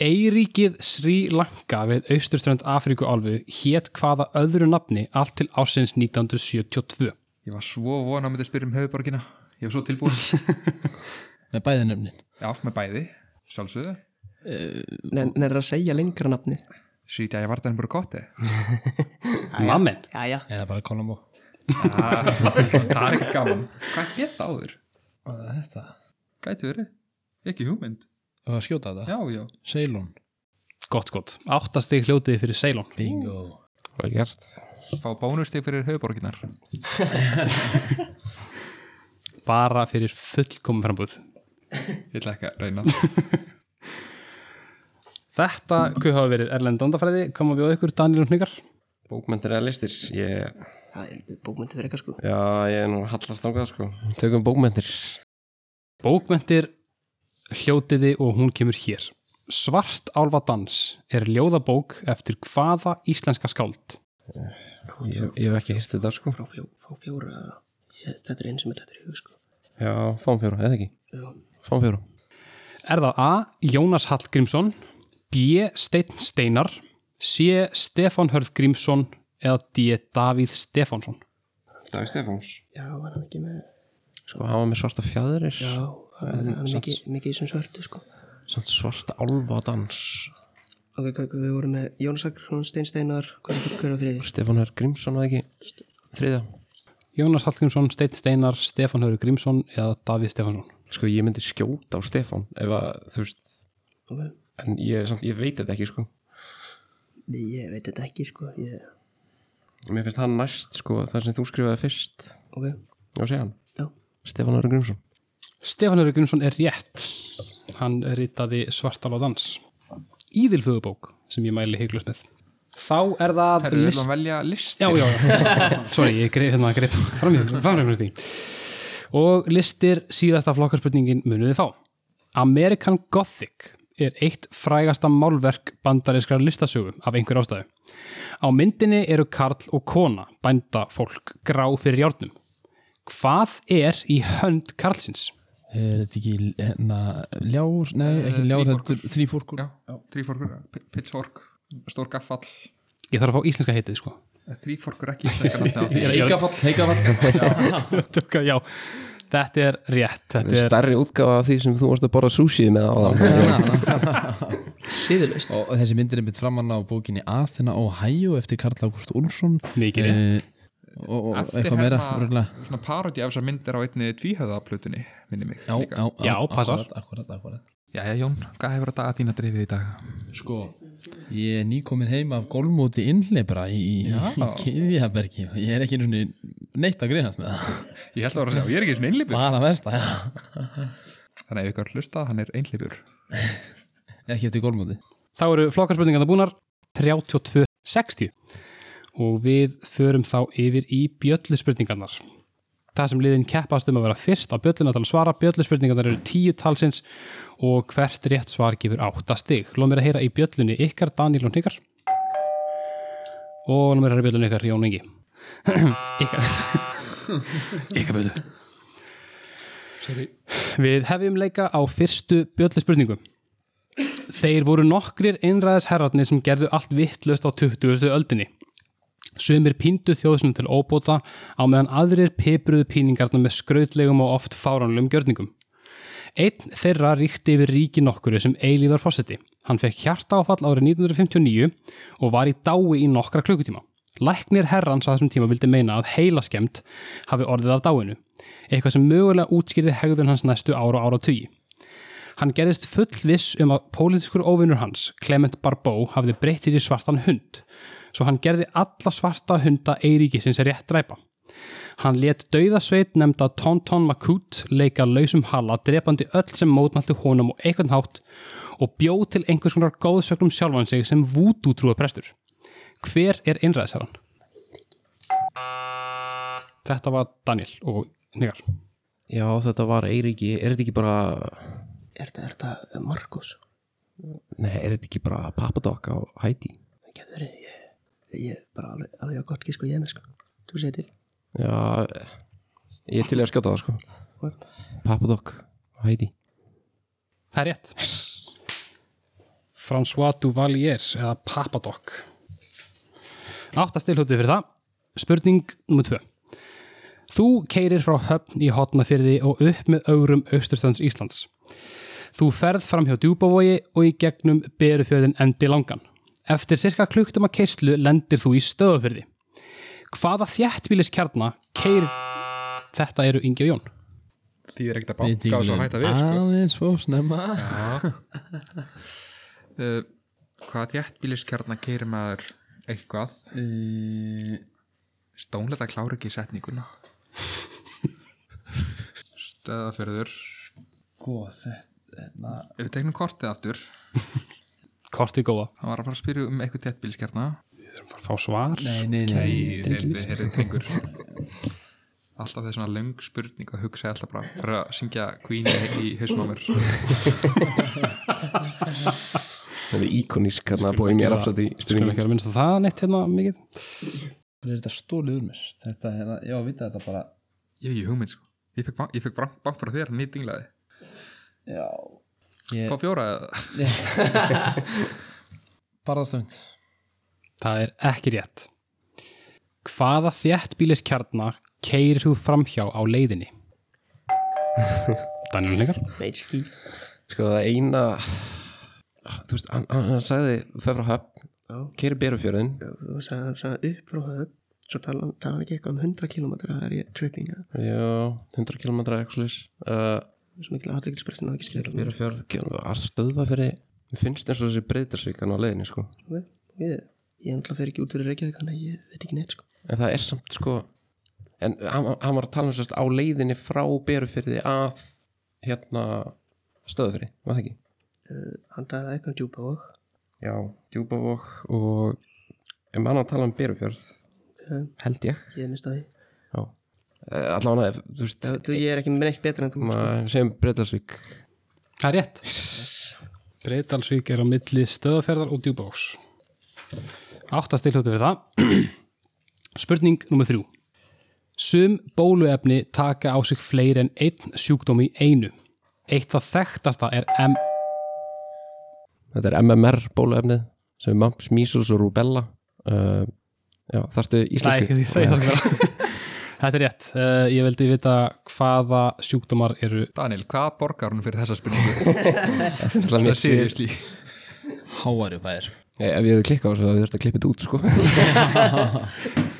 Speaker 1: Eiríkið Sri Lanka við austurströnd Afríku álfu hétt hvaða öðru nafni allt til ársins 1972.
Speaker 5: Ég var svo von að myndi spyrja um höfuborgina Ég var svo tilbúin
Speaker 6: með bæðinöfnin
Speaker 5: Já, með bæði, sjálfsögðu
Speaker 4: Nennir að segja lengra nafnið
Speaker 5: Sýtja, ég var það en bara kotti
Speaker 1: Mammen,
Speaker 4: Jæja
Speaker 6: eða bara Colombo
Speaker 5: Það er ekki gaman Hvað geta áður?
Speaker 6: og þetta
Speaker 5: Gæti verið, ekki hugmynd
Speaker 6: og að skjóta þetta
Speaker 5: Já, já
Speaker 6: Ceylon
Speaker 1: gott gott, áttastig hljótiði fyrir Ceylon.
Speaker 6: bingo
Speaker 2: Vel gert
Speaker 5: Fá bónustig fyrir höfuborginar
Speaker 1: Bara fyrir fullkomum frambúð.
Speaker 5: Ég ætla ekki að reyna það.
Speaker 1: Þetta kuð hafa verið Erlend Andafræði, koma við á ykkur Daniel og Hnygar.
Speaker 2: Bókmyndir eða listir ég,
Speaker 4: Það er bókmyndi fyrir eitthvað sko
Speaker 2: Já, ég er nú hallast ángað sko Tökum bókmyndir
Speaker 1: Bókmentir hljótiði og hún kemur hér. Svart álfadans er ljóðabók eftir hvaða íslenska skáld?
Speaker 2: Ég, ég hef ekki hýrt þetta sko
Speaker 4: Frá fjó, fá fjóra ég, Þetta er einn sem er þetta er í hug sko
Speaker 2: Já, fáum fjóra, eða ekki
Speaker 4: Já.
Speaker 2: Fáum fjóra
Speaker 1: Er það A. Jónas Hallgrímsson B. Steinn Steinar C. Stefán Hörð Grímsson eða D. Davíð Stefánsson
Speaker 2: Davi Stefáns
Speaker 4: Já, var hann ekki með
Speaker 2: Sko, hann var með svarta fjæðurir
Speaker 4: Já, hann hann er mikið, mikið í sem svörtu sko
Speaker 2: Samt svarta álfadans
Speaker 4: Ok, hvað, við vorum með Jónsakur, hún Steinsteinar Hver hver á þriði?
Speaker 2: Stefán Hör Grímsson eða ekki Þriða
Speaker 1: Jónas Hallgrímsson, Steinn Steinar, Stefán Hörð Grímsson eða Davíð Stefánsson
Speaker 2: Sko, ég myndi skjóta á Stefán Ef að, þú veist
Speaker 4: Ok.
Speaker 2: En ég, samt, ég veit þetta ekki sko
Speaker 4: Ég veit þetta ekki sko ég...
Speaker 2: Mér finnst hann næst sko þar sem þú skrifaði fyrst
Speaker 4: Ok,
Speaker 2: Já, segja hann
Speaker 4: já
Speaker 2: Stefán Ára Grímsson
Speaker 1: Stefán Hörð Grímsson er rétt Hann ritaði Svartal og dans Íðilföðubók sem ég mæli heiklust með Þá er það
Speaker 5: Herru, við
Speaker 1: list-
Speaker 5: ætlum að velja list
Speaker 1: Já, já, já. Sorry, ég greið hérna að greið framjöfnust því. Og listir síðasta flokkarspurningin munið þið fá. American Gothic er eitt frægasta málverk bandarinskrar listasögu af einhver ástæðu. Á myndinni eru karl og kona, bænda fólk, grá fyrir járnum. Hvað er í hönd karlsins?
Speaker 6: er þetta ekki hérna ljár nei ekki ljár heldur þrýfórkur
Speaker 5: Eh, Já, þrýforkur, pitchfork, stór gaffall
Speaker 1: Ég þarf að fá íslenska heitið, sko.
Speaker 5: Þrýforkur ekki, það er ekki náttúrulega
Speaker 6: heikafall heikafall
Speaker 1: Dugga, Já, þetta er rétt. Þetta er
Speaker 2: Stærri útgáfa af því sem þú varst að borða súsíð með áðan
Speaker 4: Síðurlaust
Speaker 6: og þessi myndir er mitt framann á bókinni Athena Ohio eftir Karl Ágúst Úlfsson
Speaker 1: Mikið rétt.
Speaker 6: Eh, og, og
Speaker 5: Eftir
Speaker 6: eitthvað meira
Speaker 5: hérna,
Speaker 6: örugglega.
Speaker 5: svona parodi af þessar myndir á einni tvíhöðaplutunni, minni mig
Speaker 6: já, já,
Speaker 1: Já, passar.
Speaker 6: akkurat, akkurat, akkurat.
Speaker 5: Jæja Jón, hvað hefur að daga þína drifið í dag?
Speaker 6: sko, ég er nýkomin heim af golfmóti innleibra í, í, í Kiðjabergi ég er ekki einu sinni neitt að grínast með það
Speaker 5: Ég held að vera að sjá, ég er ekki svona einleipur
Speaker 6: bara versta, já,
Speaker 5: Þannig að ef ykkur hlusta, hann er einleipur
Speaker 6: ekki eftir golfmóti
Speaker 1: Þá eru flokkarspurningarna búnar 32-60 og við förum þá yfir í bjölluspurningarnar. Það sem liðin keppast um að vera fyrst á bjölluna til að svara. Bjölluspurningarnar eru 10 talsins og hvert rétt svar gefur 8 stig. Lóð mér að heyra í bjöllunni ykkar, Daniel og Hnikar. Og lóð mér að heyra í bjöllunni ykkar, Jón Ingi. ykkar. ykkar bjöllu. Við hefjum leika á fyrstu bjölluspurningum. Þeir voru nokkrir einræðisherrarnir sem gerðu allt vittlust á 20. öldinni. Sumir píndu þjóðsum til óbóta á meðan aðrir pipruðu píningarna með skrautlegum og oft fáránlegum gjörningum. Einn þeirra ríkti yfir ríki nokkuru sem eilífar fósetti. Hann fekk hjartaáfall árið 1959 og var í dái í nokkra klukkutíma. Læknir herrans á þessum tíma vildi meina að heila skemmt hafi orðið af dáinu, eitthvað sem mögulega útskýrði hegðun hans næstu ára og ára tugi. Hann gerðist fullviss um að pólitískur óvinnur hans, Clement Barbeau, hafði breytt sér í svartan hund, svo hann gerði alla svarta hunda Eiríkisins rétt dræpa. Hann let dauðasveit nefnda Tonton Makut leika lausum halla drepandi öll sem mótmælti honum og einhvern hátt og bjóð til einhvers konar góðsögnum sjálfan sig sem vútú trúa prestur. Hver er einræðisherran? Þetta var Daniel og Nigar.
Speaker 2: Já, þetta var Eiríki Er þetta ekki bara
Speaker 4: Er þetta- eh, er þetta Markus?
Speaker 2: Nei, er þetta ekki bara Papadok á Hæti
Speaker 4: Það getur verið, ég, ég bara alveg, alveg á gott ekki sko ég er með sko Þú segir til
Speaker 2: Já, ég er til í að skjóta það sko
Speaker 4: What?
Speaker 2: Papadok og Heidi
Speaker 1: Það er rétt François Duvalier eða Papadoc Áttastilhótið fyrir það Spurning nr. 2 Þú keirir frá höfn í hotnafyrði og upp með ögrum austurstönds Íslands Þú ferð fram hjá djúbavogi og í gegnum berufjörðin endi langan Eftir cirka kluktum að keislu lendir þú í stöðafyrði Hvaða þjættbíliskjarna keirir Þetta eru Ingi og Jón
Speaker 5: Því er ekkert að banka og svo hætta við sko.
Speaker 6: Aðeins fór snemma
Speaker 5: uh, Hvað þjættbíliskjarnar keirir maður eitthvað?
Speaker 6: Eh,
Speaker 5: Stónlega klára ekki setninguna Stöðaförður
Speaker 6: Góð Sko, þetta na,
Speaker 5: Ef við tegnum kortið aftur
Speaker 1: Kortið góða
Speaker 5: Það var að fara að spyrja um eitthvað þjættbíliskjarnar
Speaker 1: Við erum að fá svar
Speaker 6: Nei, nei, nei
Speaker 5: Heyrðu, tengur Alltaf þessi svona löng spurning að hugsa alltaf bara fyrir að syngja Queen í hausmámer
Speaker 2: Það er íkonísk hérna bóið mér afstátt í
Speaker 1: Skulum
Speaker 2: spurningu
Speaker 1: ekki vera að minnast að það neitt hérna mikið
Speaker 6: Það er þetta stólið úr mér Þetta, hérna, já, vita þetta bara
Speaker 5: Ég hef ekki hugmynd sko Ég fekk bank, ég fekk bank, bank frá þér, nýtt dinglaði
Speaker 6: Já Ég,
Speaker 5: Fá fjóra eða
Speaker 6: barðastönd
Speaker 1: Það er ekki rétt Hvaða þjættbíliskjarnar keirir þú framhjá á leiðinni? Daniel Lengar
Speaker 4: Meitski
Speaker 2: Sko það eina Þú veist, hann, hann hann sagði Föfra höfn, keiri berufjörðin
Speaker 4: Þú sagði sagði upp frá höfn Svo tala hann- tala hann ekki eitthvað um 100 km Það er ég tripping eða?
Speaker 2: Já, 100 km eitthvað slis uh,
Speaker 4: Svo mikil aðtryggispressin að ekki skilja
Speaker 2: Berufjörð, að stöðva fyrir Mér finnst eins og þessi breytarsvíkan á leiðinni sko
Speaker 4: Ok, Ég, ég ennlega fer ekki út fyrir Reykjavík þannig að ég veit ekki neitt sko.
Speaker 2: En það er samt sko En hann, hann var að tala um sérst á leiðinni frá berufjörði að Hérna stöðufyrði, var það ekki?
Speaker 4: Uh, hann dæði eitthvað um djúpa og
Speaker 2: Já, Djúbavog og ef maður að tala um Berufjörð
Speaker 4: um,
Speaker 2: held ég
Speaker 4: ég mista því.
Speaker 2: Já Allána, þú veist
Speaker 4: Það, þú, ég er ekki með neitt betra en þú. sko. Ma.
Speaker 2: maður segjum Breitalsvík
Speaker 1: Það er rétt Breitalsvík er á milli stöðaferðar og djúbóks Áttastilhjóttu fyrir það Spurning nr. 3 Sum bóluefni taka á sig fleiri en einn sjúkdóm í einu Eitt það þekktasta er M
Speaker 2: Þetta er MMR bóluefnið sem er Mumps, Measles og Rubella uh, Já, þarftu
Speaker 1: Nei,
Speaker 2: íslensku
Speaker 1: því það er ekki Þetta er rétt. Uh, ég vildi vita hvaða sjúkdómar eru
Speaker 5: Daniel, hvað borgar hún fyrir þessa spurningu?
Speaker 2: Það er
Speaker 5: Það
Speaker 2: mér
Speaker 5: er
Speaker 2: síður
Speaker 5: síðurslí
Speaker 6: Háari bæðir
Speaker 2: Eh, Ef ég hefði klikkað á þessu þá hefði þurft að klippa þetta út sko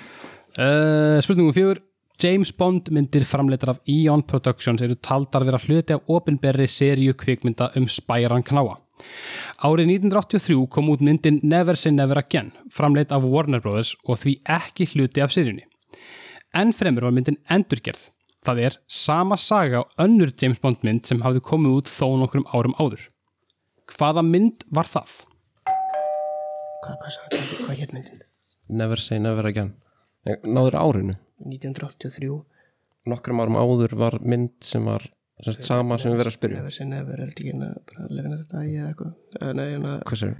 Speaker 1: Uh, spurningum fjögur James Bond myndir framleitar af Eon Productions eru taldar vera hluti af opinberri seríu kvikmynda um spæran knáa. Árið 1983 kom út myndin Never Say Never Again, framleitt af Warner Brothers og því ekki hluti af seríunni. Enn fremur var myndin endurgerð. Það er sama saga á önnur James Bond mynd sem hafði komið út þó nokkrum árum áður. Hvaða mynd var það?
Speaker 4: Hvað, hvað sagði hann? Hvað hér myndin?
Speaker 2: Never say never again Nei, Náður árinu
Speaker 4: 1983.
Speaker 2: Nokkrum árum áður var mynd sem var sérst, sama sem við verðum að spyrja um.
Speaker 4: Never say never er þetta ekki hérna bara lefin þetta dæja eða eitthvað. Eh, Nei, hérna,
Speaker 2: Hvað sér?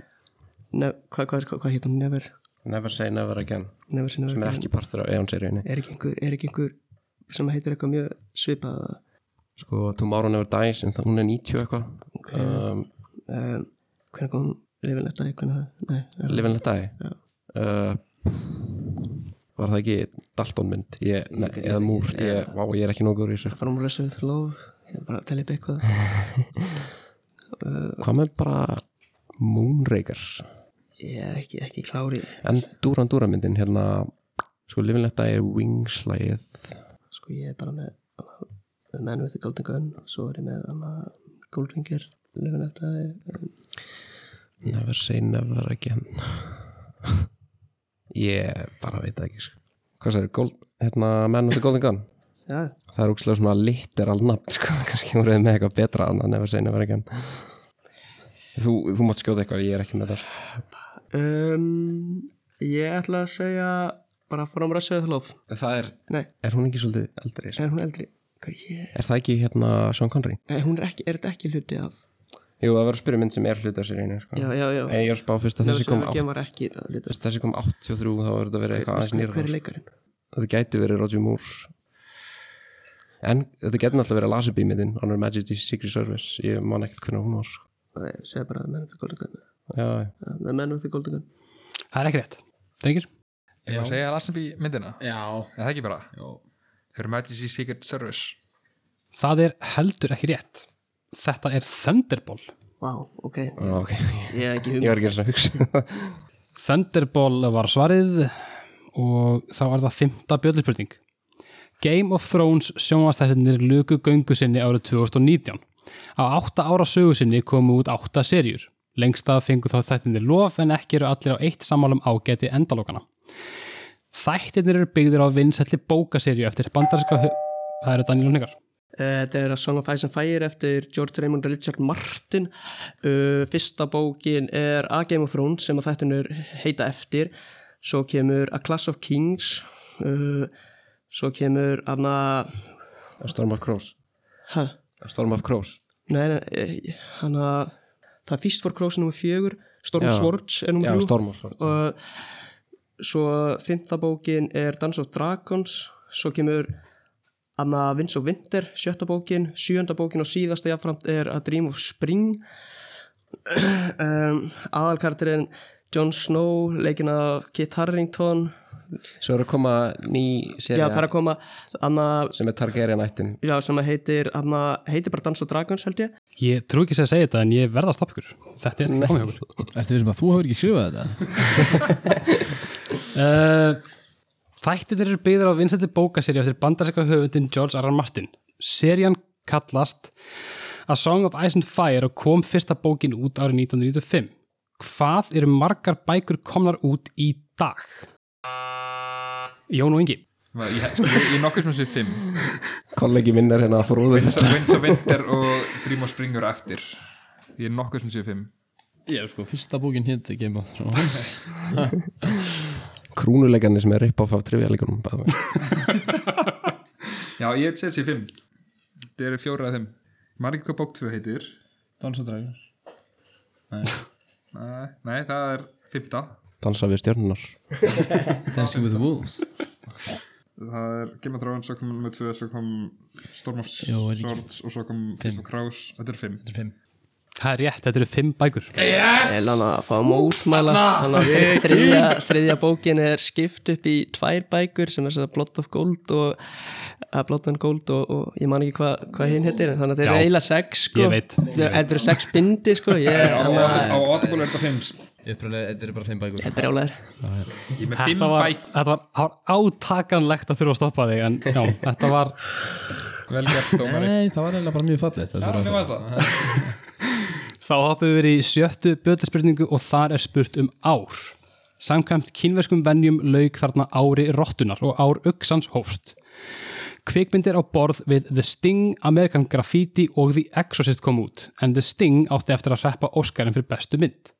Speaker 4: ne, hvað, hvað, hvað, hvað hér hún? Never,
Speaker 2: Never say never again
Speaker 4: never say never.
Speaker 2: sem er ekki partur af Eon-seríunni
Speaker 4: Er ekki einhver, er ekki einhver sem heitir eitthvað mjög svipað að
Speaker 2: sko Tomorrow Never Dies en það, hún er 90 eitthvað um,
Speaker 4: um, hvernig kom lefin þetta dæja, hvernig það, nei, er-
Speaker 2: Living Let Die uh, var það ekki Dalton mynd ég, ne, eða Múr, ég, vá, ég er ekki nógur í þessu
Speaker 4: From Reserve um Love, ég er bara að telja upp eitthvað.
Speaker 2: hvað með bara Moonraker
Speaker 4: Ég er ekki, ekki klárið.
Speaker 2: en Duran Duran myndin hérna sko Living Let Die er Wings lagið
Speaker 4: sko ég er bara með The Man with the Golden Gun svo er ég með annað Goldfinger lögun eftir það
Speaker 2: Never Say Never Again ég bara veit það ekki sko. hvað sagði, Gold, hérna Man with the Golden Gun
Speaker 4: já,
Speaker 2: það er úkslega svona litteral nafn sko, kannski voru þið með eitthvað betra en að nefnir segja nefnir ekki þú, þú mátt skjóta eitthvað, ég er ekki með það sko.
Speaker 4: um, ég ætla að segja bara fórum Rössuð Lof
Speaker 2: það er,
Speaker 4: nei,
Speaker 2: er hún ekki svolítið eldri sko?
Speaker 4: er hún eldri hvað er ég
Speaker 2: er það ekki hérna Sean Connery?
Speaker 4: nei, hún er ekki, er þetta ekki hluti af
Speaker 2: Jú, það var að spyrja um mynd sem er hluta sér einu sko.
Speaker 4: já, já, já,
Speaker 2: en ég er að spá fyrst að
Speaker 4: Never
Speaker 2: þessi
Speaker 4: Say
Speaker 2: kom,
Speaker 4: Never
Speaker 2: átt,
Speaker 4: Again var ekki það hluti af
Speaker 2: fyrst þessi kom 83 þá verður þetta að vera eitthvað aðeins sko.
Speaker 4: hver
Speaker 2: nýra
Speaker 4: er leikarinn
Speaker 2: þetta gæti verið Roger Moore en þetta gæti náttúrulega verið Lasse Beamidin, Honor Majesty's Secret Service ég man ekkert hvernig hún var sko.
Speaker 4: Nei, segja bara menn eftir Golden Gun
Speaker 2: já,
Speaker 4: Uh,
Speaker 2: já.
Speaker 4: Já, Það er menn eftir Golden Gun
Speaker 1: Það er ekki rétt. Drengir?
Speaker 5: Ég maður segja Larsenby myndina Eða
Speaker 6: Já,
Speaker 5: það ekki bara
Speaker 6: já.
Speaker 5: Her Majesty's Secret Service
Speaker 1: Það er heldur ekki rétt. Þetta er Thunderball.
Speaker 4: Vá, ok,
Speaker 2: Já, ok.
Speaker 4: ég hef ekki
Speaker 2: Ah. ég
Speaker 4: hugmynd
Speaker 2: var ekki eins að hugsa
Speaker 1: Thunderball var svarið og þá er það fymta bjöldspurning. Game of Thrones sjónvastættinir luku göngu sinni árið 2019. Á átta ára sögu sinni komu út átta serjur. Lengstað fengu þá þættinir lof en ekki eru allir á eitt sammálum ágæti endalókana. Þættinir eru byggðir á vinsælli bókaserju eftir bandarska... Það eru Daniel Hningar.
Speaker 4: Eh, Þetta er að Song of Ice and Fire eftir George Raymond og Richard Martin uh, Fyrsta bókin er A Game of Thrones sem að þættinur heita eftir Svo kemur A Class of Kings uh, Svo kemur afna
Speaker 2: A Storm of Crows
Speaker 4: Hæ?
Speaker 2: A Storm of Crows
Speaker 4: Nei, nei, eh, hann að Það er Fist for Crows nummer fjögur Storm
Speaker 2: Já.
Speaker 4: Swords er nummer
Speaker 2: já,
Speaker 4: þrjú
Speaker 2: Storm of Crows
Speaker 4: og svo fymta bókin er Dance of Dragons svo kemur Anna Vins of Winter, sjötta bókin sjönda bókin og síðasta jáfnframt er A Dream of Spring um, aðalkarturinn Jon Snow, leikin af Kit Harington
Speaker 2: svo er að koma ný
Speaker 4: já,
Speaker 2: serið
Speaker 4: það er að koma Anna,
Speaker 2: sem er Targaryen ættin
Speaker 4: já, sem heitir Anna, heitir bara Dance of Dragons held ég
Speaker 1: Ég trú ekki að segja þetta en ég verða að stoppa ykkur. Þetta er komið hjá ykkur.
Speaker 6: Ertu við sem að þú hefur ekki skrifað þetta?
Speaker 1: Uh, Þættir eru byggður á vinsætti bókaserju eftir bandarsekka höfundin George R. R. Martin. Serían kallast A Song of Ice and Fire og kom fyrsta bókin út árið 1995. Hvað eru margar bækur komnar út í dag? Jón og Ingi.
Speaker 5: Ég, sko, ég, ég nokkuð sem sé fimm
Speaker 2: kollegi minn er hérna að fróðu
Speaker 5: Winds of- Winds of Winter og Dream of Spring eru eftir Ég er nokkuð sem sé fimm
Speaker 6: Já, sko, fyrsta bókin hitt Game of Thrones
Speaker 2: krúnuleikani sem er rip-off af trivialikunum já,
Speaker 5: Já, ég set sér fimm Það eru fjóra af þeim Maður ekki hvað bók 2 heitir
Speaker 6: Dans og dragur
Speaker 5: Nei, nei, það er fimmta
Speaker 2: dansa við stjörnunar
Speaker 6: Dancing with the Wolves
Speaker 5: Það er Game of Thrones, svo kom nummer 2 Svo kom Storm of
Speaker 6: Jó, er ekki-
Speaker 5: Swords Og svo kom Fist of Crows Þetta er fimm
Speaker 6: Þetta er fimm
Speaker 1: Það er rétt, þetta eru fimm bækur.
Speaker 4: Yes! Elan að fá mótmæla Þannig að þriðja, þriðja bókin er skipt upp í tvær bækur sem er svo Blood of Gold og að Blood and Gold og, og ég man ekki hvað hva hinn heitir en þannig að þeir eru
Speaker 1: Já.
Speaker 4: eiginlega sex sko.
Speaker 1: Ég veit.
Speaker 4: Þeir- Þetta eru sex bindi sko. ég
Speaker 5: Á
Speaker 4: er
Speaker 5: á Audible er þetta fimm
Speaker 6: Uppræðilega, þetta er bara fimm bækur
Speaker 4: brjálæður
Speaker 5: Ég er með fimm
Speaker 1: Þetta var,
Speaker 5: bæk
Speaker 1: þetta var, það var átakanlegt að þurfa að stoppa þig en já, þetta var
Speaker 5: Vel gert, dómari
Speaker 6: Nei, það var eiginlega bara mjög fallið Þetta
Speaker 5: Hvernig
Speaker 6: var
Speaker 5: var það?
Speaker 1: Þá hoppum við í sjöttu bjöldspurningu og þar er spurt um ár. Samkvæmt kínverskum venjum lauk þarna ári rottunar og ár uksans hófst. Kvikmyndir á borð við The Sting, American Graffiti og The Exorcist kom út, en The Sting átti eftir að reppa Óskarinn fyrir bestu mynd.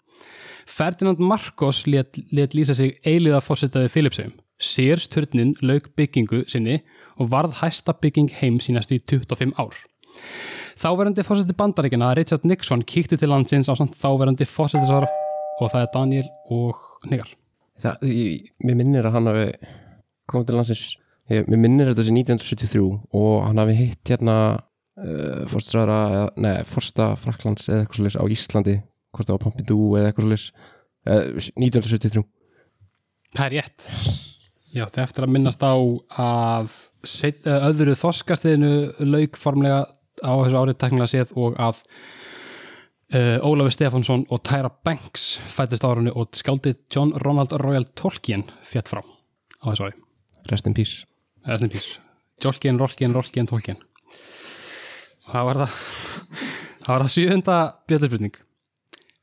Speaker 1: Ferdinand Marcos let, let lýsa sig eiliða fórsetaði Philipsheim. Sears turnin lauk byggingu sinni og varð hæsta bygging heim sínast í 25 ár. Þáverandi fórseti bandaríkina Richard Nixon kíkti til landsins á samt þáverandi fósetisar og það er Daniel og Nigar.
Speaker 2: það, ég, mér minnir að hann hafi komið til landsins ég, mér minnir þetta sé 1973 og hann hafi hitt hérna uh, forstræðara, neða, forsta Fraklands eða eitthvað svolítið á Íslandi hvort það var Pompidou eða eitthvað svolítið uh, 1973
Speaker 1: Það er rétt. Já, það eftir að minnast á að set, öðru þorskastiðinu lauk formlega á þessu árið teknilega séð og að uh, Ólafur Stefánsson og Tyra Banks fættist á árunni og skáldið John Ronald Royal Tolkien fjett frá á þessu ári.
Speaker 2: rest in peace
Speaker 1: Það er snipís. Jolkien, Rolkien, Rolkien, Tolkien. Það var það. Það var það sjöfunda bjöldspurning.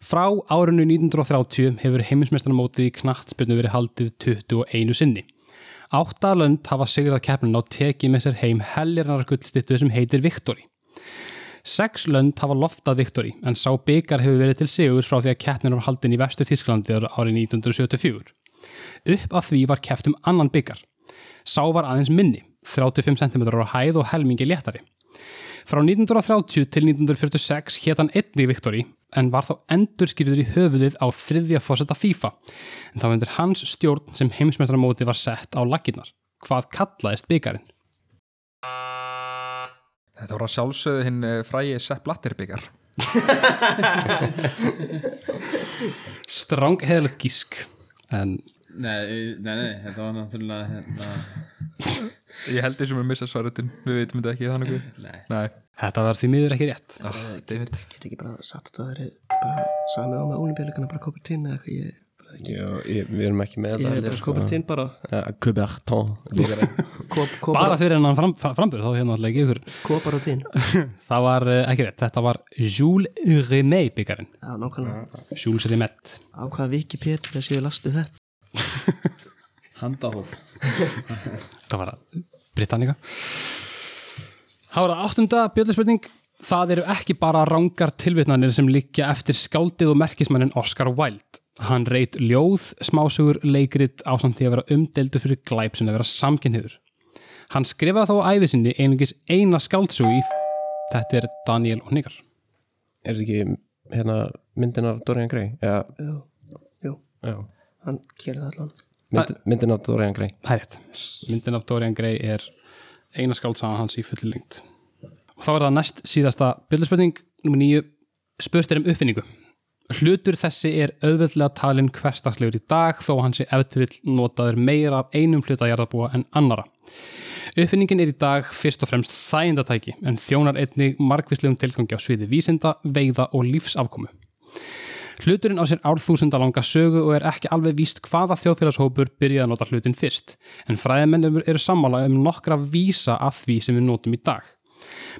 Speaker 1: Frá árinu 1930 hefur heimsmeistarnamótið í knattspyrnu verið haldið 21 sinni. Átta lönd hafa sigrað keppnin á tekið með sér heim heljarinnar gullstittu sem heitir Viktori. Sex lönd hafa loftað Viktori en sá byggar hefur verið til sigur frá því að keppnin var haldin í vestu Þísklandi árið 1974. Upp að því var keft um annan byggar. Sá var aðeins minni, 35 cm á hæð og helmingi léttari. Frá 1930 til 1946 hétt hann einnig Viktori en var þá endurskýrður í höfuðið á þriðja fósetta FIFA en þá undir hans stjórn sem heimsmeistramótið var sett á lakinnar. Hvað kallaðist byggarinn?
Speaker 5: Þetta voru að sjálfsögðu hinn eh, frægi Sepp Blatter byggar.
Speaker 1: Strang heðalegt gísk en
Speaker 6: Nei, nei, nei, þetta var náttúrulega hérna,
Speaker 5: Ég held þessum að missa svarutin, við veitum þetta ekki þannig. Nei. Nei.
Speaker 1: þetta var því miður ekki rétt.
Speaker 5: Ah, David.
Speaker 4: Getur ekki bara sagt að það er bara samið á með ólimpíuleikana bara Kopertín eða eitthvað ég, sko.
Speaker 2: Jó, ég, við erum ekki með
Speaker 4: ég er
Speaker 2: þetta sko. Eh,
Speaker 4: bara Kopertín bara
Speaker 2: Kubertón
Speaker 4: Kop- Kopar-
Speaker 1: Bara fyrir hennan fram, fram- framburð þá hérna alltaf ekki ykkur.
Speaker 4: Koparutín
Speaker 1: Það var eh, ekki rétt, þetta var Jules Rimet byggarinn.
Speaker 4: Já, nákvæmlega
Speaker 1: Jules Rimet.
Speaker 4: Á hvaða Wikipedia séu lastu þetta
Speaker 6: handahóf
Speaker 1: Það var að Britannica. Það var að áttunda bjöldspurning. Það eru ekki bara rangar tilvitnanir sem liggja eftir skáldið og merkismannin Oscar Wilde. Hann reyt ljóð, smásugur, leikrit á samt því að vera umdeldu fyrir glæp sem að vera samkynniður. Hann skrifaði þá á ævi sinni einungis eina skáldsug í Þetta er Daniel og Hnigar.
Speaker 2: Er þetta ekki hérna, myndin af Dorian Gray? Já,
Speaker 4: Jú, jú,
Speaker 2: já.
Speaker 4: hann gerir það allan
Speaker 2: Mynd, myndin af Dorian Gray
Speaker 1: Það er rétt. Myndin af Dorian Gray er eina skáldsagan hans í fulli lengt. Og þá er það næst síðasta byrðspurning, nummer nýju, spurt er um uppfinningu. Hlutur þessi er auðveldlega talin hverstagslegur í dag þó hann sé eftir vill notaður meira af einum hluta jarðabúa en annara. Uppfinningin er í dag fyrst og fremst þægindatæki en þjónar einnig margvíslegum tilgangi á sviði vísinda, veiða og lífsafkomu. Hluturinn á sér árþúsunda langa sögu og er ekki alveg víst hvaða þjóðfélagshópur byrjaði að nota hlutin fyrst, en fræðimennum eru sammála um nokkra vísa af því sem við notum í dag.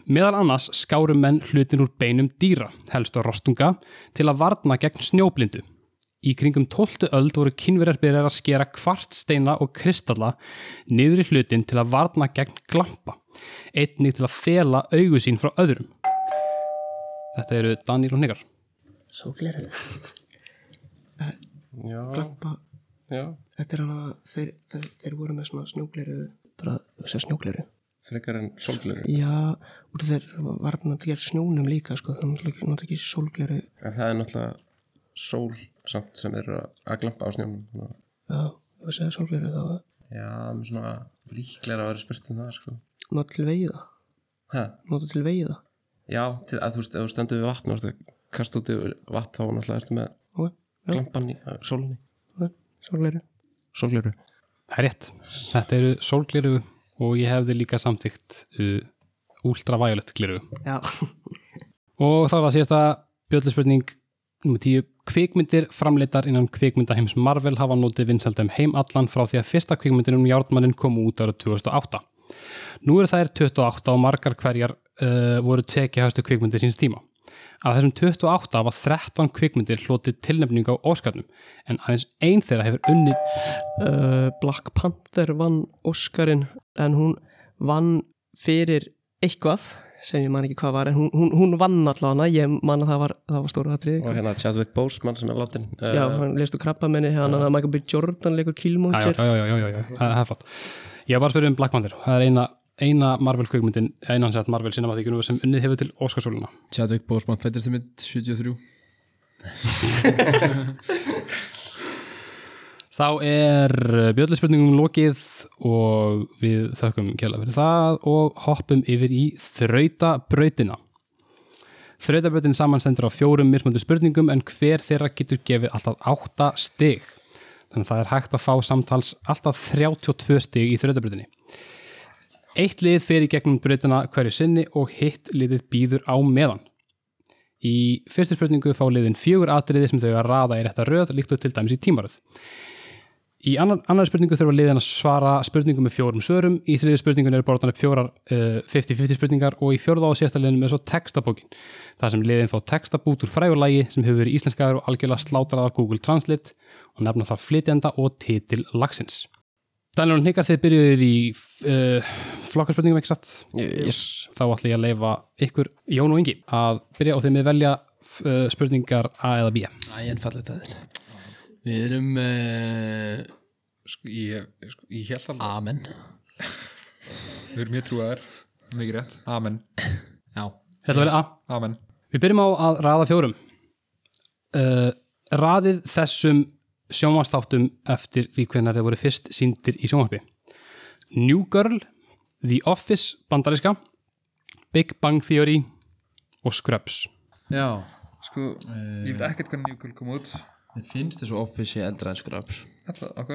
Speaker 1: Meðal annars skáru menn hlutin úr beinum dýra, helst á rostunga, til að varna gegn snjóblindu. Í kringum 12. öld voru kynverjar byrjar að skera kvartsteina og kristalla niður í hlutin til að varna gegn glampa, einnig til að fela augu sín frá öðrum. Þetta eru Daniel og Hnigar.
Speaker 4: Svo glerið
Speaker 2: Já,
Speaker 4: Glampa,
Speaker 2: já
Speaker 4: þetta er hann að þeir, þeir, þeir voru með svona snjógleru bara, hugsa snjógleru
Speaker 2: Frekar en solglöru
Speaker 4: Já, út af þeir það var náttúrulega að gera snjónum líka sko, það var náttúrulega ekki- náttúrulega ekki sólgleru
Speaker 2: En það er náttúrulega sól samt sem er að glampa á snjónum
Speaker 4: Já, ef við segja sólgleru þá var
Speaker 2: Já, með svona líklega að vera spurt um það sko.
Speaker 4: nota til veiða,
Speaker 2: Hæ?
Speaker 4: nota til veiða
Speaker 2: Já, til, að þú veist, ef þú stendur við vatn og ertu að kasta út yfir vatn þá náttúrulega ertu með
Speaker 4: Ok, já,
Speaker 2: glampan í uh, sólinni
Speaker 4: ok, sólgleru
Speaker 2: Sólglöru
Speaker 1: Það er rétt. Þetta eru sólgliru og ég hefði líka samþygt uh, ultraviolet gliru.
Speaker 4: Já,
Speaker 1: Og þá er það síðasta bjölluspurning nr. 10. Kvikmyndir framleitar innan kvikmynda heims Marvel hafa notið vinsaldum heim allan frá því að fyrsta kvikmyndin um Járnmannin kom út ára 2008. Nú eru þær 28 og margar hverjar uh, voru tekið hægstu kvikmyndir síns tíma. Af þessum 28 var 13 kvikmyndir hlotið tilnefningu á Óskarnum en aðeins ein þeirra hefur unnið
Speaker 4: uh, Black Panther vann Óskarin en hún vann fyrir eitthvað sem ég man ekki hvað var en hún, hún, hún vann allavega, ég man að það var, það var stóra atrið
Speaker 2: Og hérna Chadwick Boseman sem er uh, látin
Speaker 4: Já, hann lestu krabba minni, hann að Michael B. Jordan leikur
Speaker 1: Já, já,
Speaker 4: Killmonger
Speaker 1: já, já, já, já, já. Það, það er flott. Ég var bara að spyrja um Black Panther. Það er eina, eina Marvel kvikmyndin, einan sett Marvel Cinematic Universe sem unnið hefur til Óskarsóluna.
Speaker 6: Chadwick Boseman, fættist mynd 73
Speaker 1: Þá er bjöllispurningum lokið og við þökkum kjæla fyrir það og hoppum yfir í þrautabrautina. Þrautabrautin samanstendur á fjórum mismöndu spurningum en hver þeirra getur gefið alltaf átta stig. Þannig að það er hægt að fá samtals alltaf 32 stig í þrautabrautinni. Eitt lið fer í gegnum brautina hverju sinni og hitt liðið býður á meðan. Í fyrstu spurningu fá liðin fjögur atriði sem þau að raða í rétta röð líkt og til dæmis í tímaröð. Í annar, annar spurningu þurfa liðin að svara spurningum með fjórum svörum, í þriðju spurningun eru borðan upp fjórar eh, 50-50 spurningar og í fjórða og sérsta liðin með svo textabókin, þar sem liðin fá textabút úr frægurlægi sem hefur verið íslenskaður og algjörlega slátrað af Google Translate og nefna þar flytjanda og titil lagsins. Daniel og Hnikar, þið byrjuðið í uh, flokkarspurningum, ekki satt?
Speaker 2: Yes
Speaker 1: þá ætla ég að leifa ykkur Jón og Ingi að byrja og þeim við velja uh, spurningar A eða B
Speaker 6: Æ, en fallið það er Við erum uh,
Speaker 5: Sko, ég, sko, ég held alveg,
Speaker 6: Amen
Speaker 5: við erum mjög trúaðar, mikið rétt. Amen.
Speaker 6: Já
Speaker 1: Þetta að velja A
Speaker 5: Amen.
Speaker 1: Við byrjum á að raða fjórum uh, Raðið þessum sjónvastáttum eftir því hvernig þeir voru fyrst síndir í sjónvarpi New Girl, The Office bandaríska, Big Bang Theory og Scrubs.
Speaker 6: Já,
Speaker 5: Sko, ég
Speaker 6: Eh.
Speaker 5: veit ekkert hvernig New Girl kom út
Speaker 6: mér finnst þessu office ég eldra en skröps
Speaker 5: Alla, ok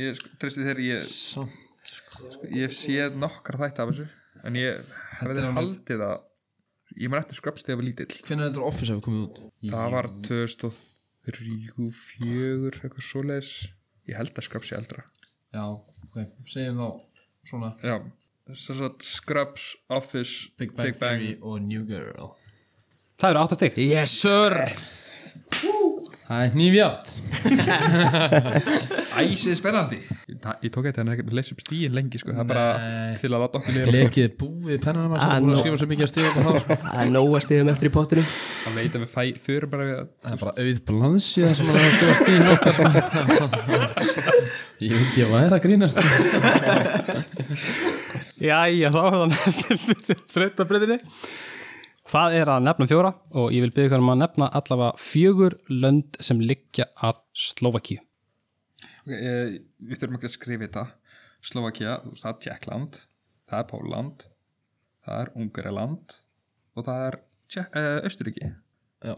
Speaker 5: Ég sko, treysti þér, ég,
Speaker 6: Samt
Speaker 5: sko, ég hef séð nokkar þætti af þessu En ég hefði haldið að Ég maður eftir skröps þegar ég var lítill
Speaker 6: Hvernig heldur office hefur komið út?
Speaker 5: Það var 2003, 4, eitthvað svoleiðis Ég held að skröps ég eldra
Speaker 6: Já, ok, segjum þá svona
Speaker 5: Já, þess að skröps, Office,
Speaker 6: Big Bang, Theory og New Girl
Speaker 1: Það eru áttast ykkur.
Speaker 6: Yes sir Það er nýfjátt
Speaker 5: Æsið spennandi Ég tók eitthvað en er ekki að leysa upp stíin lengi sko. Það er bara til að láta okkur niður
Speaker 6: Lekið búið pennanum að
Speaker 4: Ah,
Speaker 6: sem búin að
Speaker 4: no.
Speaker 6: skrifa svo mikið að stíða upp á það
Speaker 4: Það er nóg að stiðum eftir í pottinum
Speaker 5: Það veit að við fæ, förum bara við að
Speaker 6: Það er bara auð blansi það sem að skrifa stíðin okkar sko. Ég veit ekki að væri að grínast
Speaker 1: Jæja, þá er það næstu þrautabriðinni. Það er að nefna fjóra og ég vil byggja ykkur um að nefna allavega fjögur lönd sem liggja að Slovakíu.
Speaker 5: Ok, eh, Við þurfum ekki að skrifa þetta Slovakia, þú veist, það er Tjekkland Það er Póland Það er Ungariland Og það er Tjek, uh, Östuríki
Speaker 6: Já,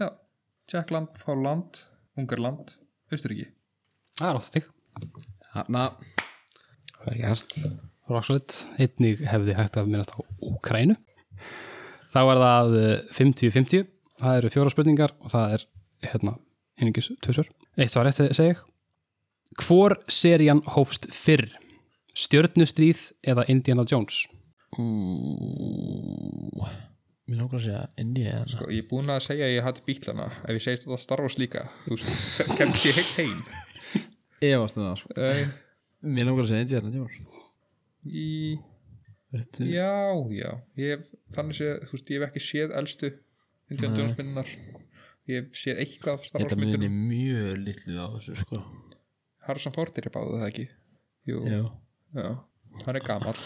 Speaker 5: Já, Tjekkland, Póland, Ungariland Östuríki
Speaker 1: Það er áttast ykkur.
Speaker 6: þarna
Speaker 2: Það er gæst
Speaker 1: Rocksolid, einnig hefði hægt að minnast á Úkrænu þá er það eh, 50-50 það eru fjóra spurningar og það er hérna, einingis tvösur eitt svar eftir segi ég Hvor serían hófst fyrr? Stjörnustríð eða Indiana Jones?
Speaker 6: Ú, Mér lókar að segja India eða
Speaker 5: sko, Ég er búin að segja að ég hatt bílana Ef ég segist þetta Star Wars líka Þú veist, kemst ég heitt heim
Speaker 6: Efast það sko.
Speaker 5: uh,
Speaker 6: Mér lókar að segja India eða Jóns
Speaker 5: Í Já, já, ég hef þannig séð, þú veist, ég hef ekki séð elstu Indiana Jones myndunar ég hef séð eitthvað af Star Wars
Speaker 6: Þetta minni
Speaker 5: myndunum
Speaker 6: mjög litlu á þessu sko
Speaker 5: Harrison Ford er báðu það ekki Jú,
Speaker 6: Já,
Speaker 5: já, hann er gamall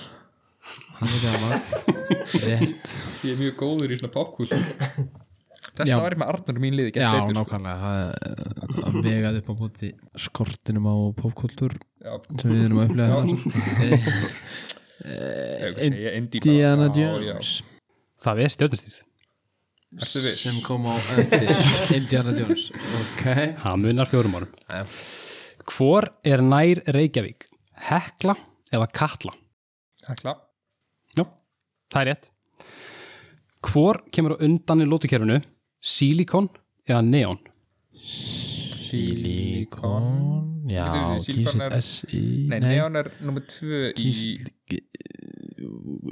Speaker 6: hann er gaman Rétt
Speaker 5: ég er mjög góður í svona popkúl þess
Speaker 6: Já.
Speaker 5: að væri með Arnur í mín liði
Speaker 6: Já,
Speaker 5: gert betur, sko.
Speaker 6: nákvæmlega það er vegað upp á móti skortinum á popkultúr
Speaker 5: já,
Speaker 6: sem við erum að upplega
Speaker 5: ég
Speaker 6: það
Speaker 5: vil segja Indy
Speaker 6: eh, Indiana
Speaker 5: bara, já, já.
Speaker 6: Jones
Speaker 1: Það er stjörnustríð
Speaker 5: Ertu viss?
Speaker 6: sem kom á eftir Indiana Jones ok
Speaker 1: Það munar fjórum árum
Speaker 6: Jæja.
Speaker 1: Hvor er nær Reykjavík? Hekla eða Katla?
Speaker 5: Hekla,
Speaker 1: Já, það er rétt Hvor kemur á undan í lótukerfinu? Silikon eða neon?
Speaker 6: Silikon já,
Speaker 5: Bíddu, Silicon
Speaker 6: kísitt
Speaker 5: er-
Speaker 6: S-I
Speaker 5: nei, Neon er nummer 2 í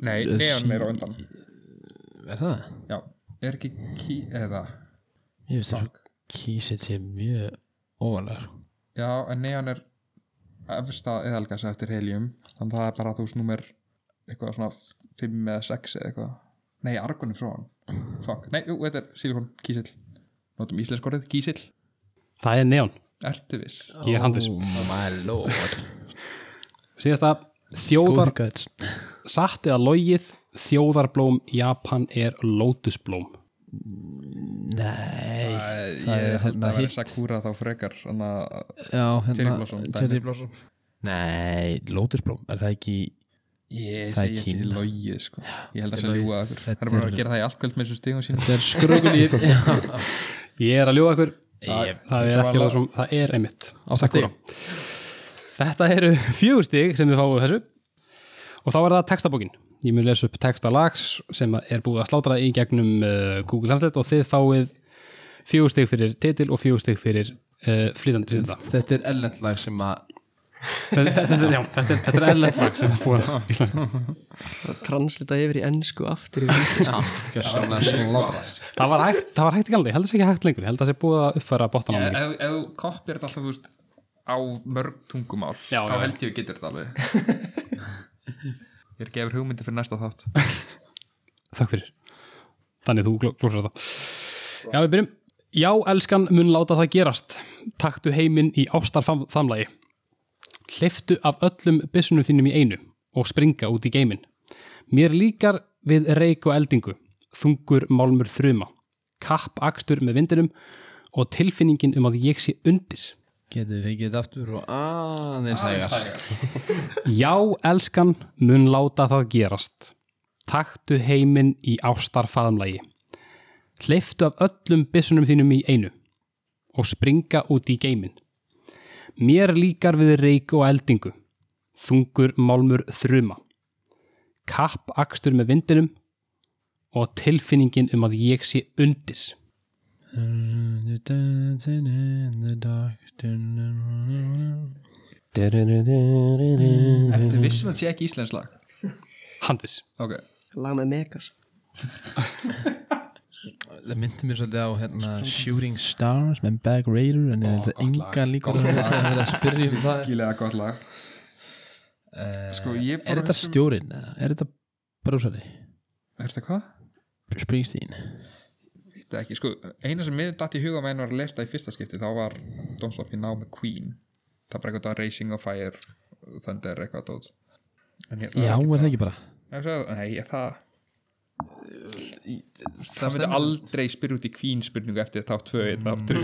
Speaker 5: nei, Neon er á undan
Speaker 6: er það?
Speaker 5: já, er ekki ký, eða
Speaker 6: ég veist það svo kísitt sé mjög óvalega sko.
Speaker 5: já, en Neon er efstað eðalgas eftir helium þannig að það er bara þú veist nummer eitthvað svona 5 eða 6 eða eitthvað nei, Argon er frá hann Fuck. nei, jú, þetta er Silikon, kísill notum íslenskorðið, kísill,
Speaker 1: Það er neon,
Speaker 5: ertu viss
Speaker 1: ég er handvis
Speaker 5: Oh
Speaker 6: my lord
Speaker 1: Síðasta, þjóðar
Speaker 6: góði gæts
Speaker 1: satt eða logið þjóðarblóm Japan er lótusblóm
Speaker 6: nei
Speaker 5: ég
Speaker 6: er
Speaker 5: held
Speaker 6: hérna
Speaker 5: að vera
Speaker 6: hitt.
Speaker 5: Sakura þá frekar þannig að
Speaker 6: Já, hérna
Speaker 5: Cherry Blossom, dæmið.
Speaker 6: Cherry Blossom Nei, Lótusblóm, er það ekki
Speaker 5: ég
Speaker 6: Það er
Speaker 5: segi ekki
Speaker 6: Kína.
Speaker 5: logið sko. ég held að
Speaker 6: Þetta er
Speaker 5: það sé
Speaker 6: logið.
Speaker 5: ljúa að
Speaker 6: Þetta
Speaker 5: hann er bara
Speaker 6: er-
Speaker 5: að gera það í allkvöld með þessu stíðum sínum
Speaker 6: Það er skrögulíf
Speaker 1: Ég er að ljóða ykkur Það,
Speaker 6: Ég-
Speaker 1: það er ekki alveg svona, það er einmitt
Speaker 6: Sakura
Speaker 1: Þetta eru fjögur stig sem þið fáið þessu og þá er það textabókin Ég mun lesa upp texta lags sem er búið að slátra í gegnum uh, Google Translate og þið fáið fjögur stig fyrir titil og fjögur stig fyrir uh, flytandi rýnda
Speaker 6: Þetta er ellend lag sem að
Speaker 1: þetta, þetta, já, þetta, er- þetta er erlend lag sem er búið á Íslandi
Speaker 4: Það translita yfir í ennsku aftur í íslensku
Speaker 6: Já, gjörsamlega slátt
Speaker 1: það var hægt, það var hægt í galdi, heldur þess ekki hægt lengur ég held að það sé búið að uppfæra bóttan á
Speaker 5: ef
Speaker 1: mig
Speaker 5: ef þú kopjar þetta alltaf þú veist, á mörg tungumál
Speaker 1: Já,
Speaker 5: þá
Speaker 1: já.
Speaker 5: held ég að getur þetta alveg ég er gefur hugmyndi fyrir næsta þátt
Speaker 1: þakk fyrir, þannig þú glófsar þetta já við byrjum já elskan mun láta það gerast taktu heiminn í ástarfamlagi hliftu af öllum byssunum þínum í einu og springa út í geiminn mér líkar við reik og eldingu þungur málmur þruma kapp akstur með vindinum og tilfinningin um að ég sé undir
Speaker 6: Getum við fengið þetta aftur og aðeins hægar
Speaker 1: Já, elskan, mun láta það gerast. Taktu heiminn í ástarfaðumlagi. Hleyftu af öllum byssunum þínum í einu og springa út í geiminn. Mér líkar við reik og eldingu. Þungur málmur þruma. Kapp akstur með vindinum og tilfinningin um að ég sé undir.
Speaker 6: You're dancing in the dark
Speaker 5: Ertu vissum að þetta sé ekki íslensk lag?
Speaker 1: Handvis.
Speaker 5: Ok,
Speaker 4: Lag með Megas
Speaker 6: Það myndi mér svolítið á hérna, Shooting Stars með Bag Raider en ég held að enga líka að það er að spyrja um það
Speaker 5: gílega gott lag Sko ég fór
Speaker 6: Er
Speaker 5: að
Speaker 6: þetta
Speaker 5: hugsa um-
Speaker 6: stjórinn? eða Er þetta brúsari?
Speaker 5: Er þetta hvað?
Speaker 6: Springsteen?
Speaker 5: Þetta ekki, sko, eina sem mér datt í huga meðan var að lesa það í fyrsta skipti þá var Don't Stop Me Now með Queen Það er bara eitthvað Racing of Fire Thunder eitthvað tótt en hérna- ég, það
Speaker 6: Já, er
Speaker 5: er
Speaker 6: það ekki bara?
Speaker 5: ekki, sagði, Nei, ég, það Það myndi aldrei spyrja út í Queen spurningu eftir þátt tvö einn aftur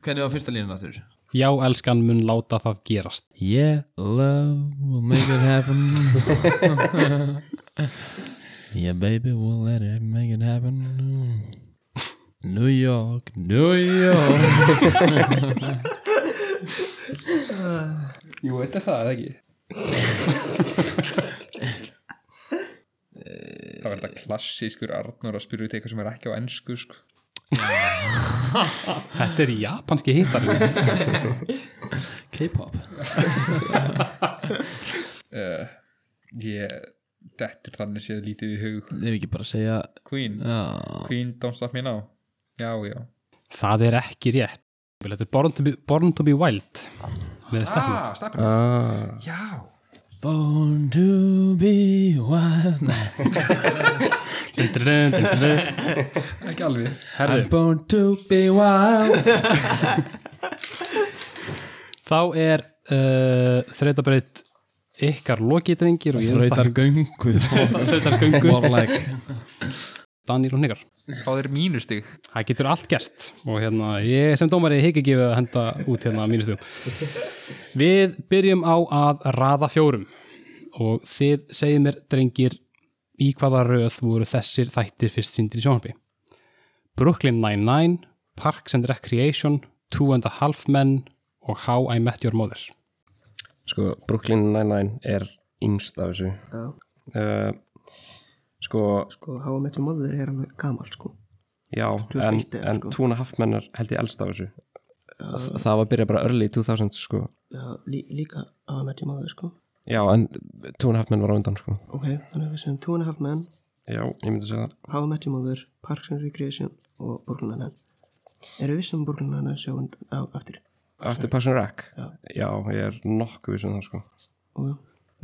Speaker 6: Hvernig var fyrsta línan að þurr?
Speaker 1: Já, elskan, mun láta það gerast.
Speaker 6: Yeah, love will make it happen Yeah, baby, we'll let it make it happen New York, New York
Speaker 5: Jú, þetta er það, eða ekki Það var þetta klassískur Arnur að spyrja út í eitthvað sem er ekki á ennsku sko.
Speaker 1: Þetta er japanski hittarinn.
Speaker 6: K-pop
Speaker 5: Ég, þetta er þannig séð lítið í hug
Speaker 6: Ef ekki bara segja
Speaker 5: Queen,
Speaker 6: Já,
Speaker 5: Queen Don't Stop Me Now Já, já
Speaker 1: Það er ekki rétt. Þetta er Born to be, Born to be Wild með stefnum.
Speaker 5: Ah, Steppenwolf ah. Já
Speaker 6: Born to be wild
Speaker 1: Herðu,
Speaker 5: Ekki alveg
Speaker 6: Born to be wild
Speaker 1: þá er uh, þreytabreyt ykkar lokitrengir og ég
Speaker 6: Þrautar göngu
Speaker 1: þreytar göngu
Speaker 6: Warlike
Speaker 1: Danir og Nigar.
Speaker 5: Fá þér mínustig
Speaker 1: Það getur allt gerst og hérna, ég sem dómari higg ekki við að henda út hérna mínustugum. Við byrjum á að raða fjórum og þið segir mér, drengir, í hvaða röð voru þessir þættir fyrst síndir í sjónarbi. Brooklyn Nine-Nine, Parks and Recreation, Two and a Half Men og How I Met Your Mother.
Speaker 2: Sko, Brooklyn Nine-Nine er yngst af þessu
Speaker 4: Já.
Speaker 2: uh, Sko,
Speaker 4: Sko, Háa Metri Móður er alveg gamal sko
Speaker 2: já, en,
Speaker 4: 2001 eða,
Speaker 2: en
Speaker 4: sko.
Speaker 2: Tún og Hafmennar held ég elst af þessu Þa- Það var byrjað bara early 2000 sko
Speaker 4: Já, lí, líka Háa Metri Móður sko
Speaker 2: Já, en Tún og Hafmenn var á undan sko
Speaker 4: Ok, þannig að við segjum Two and a Half Men
Speaker 2: Já, ég myndi segja það
Speaker 4: Háa Metri Móður, Parks and Recreation og Borglunarnan Eru við sem Borglunarnan sjáum á eftir?
Speaker 2: After Parks and Rec Já, ég er nokkuð vissum það sko
Speaker 4: Og,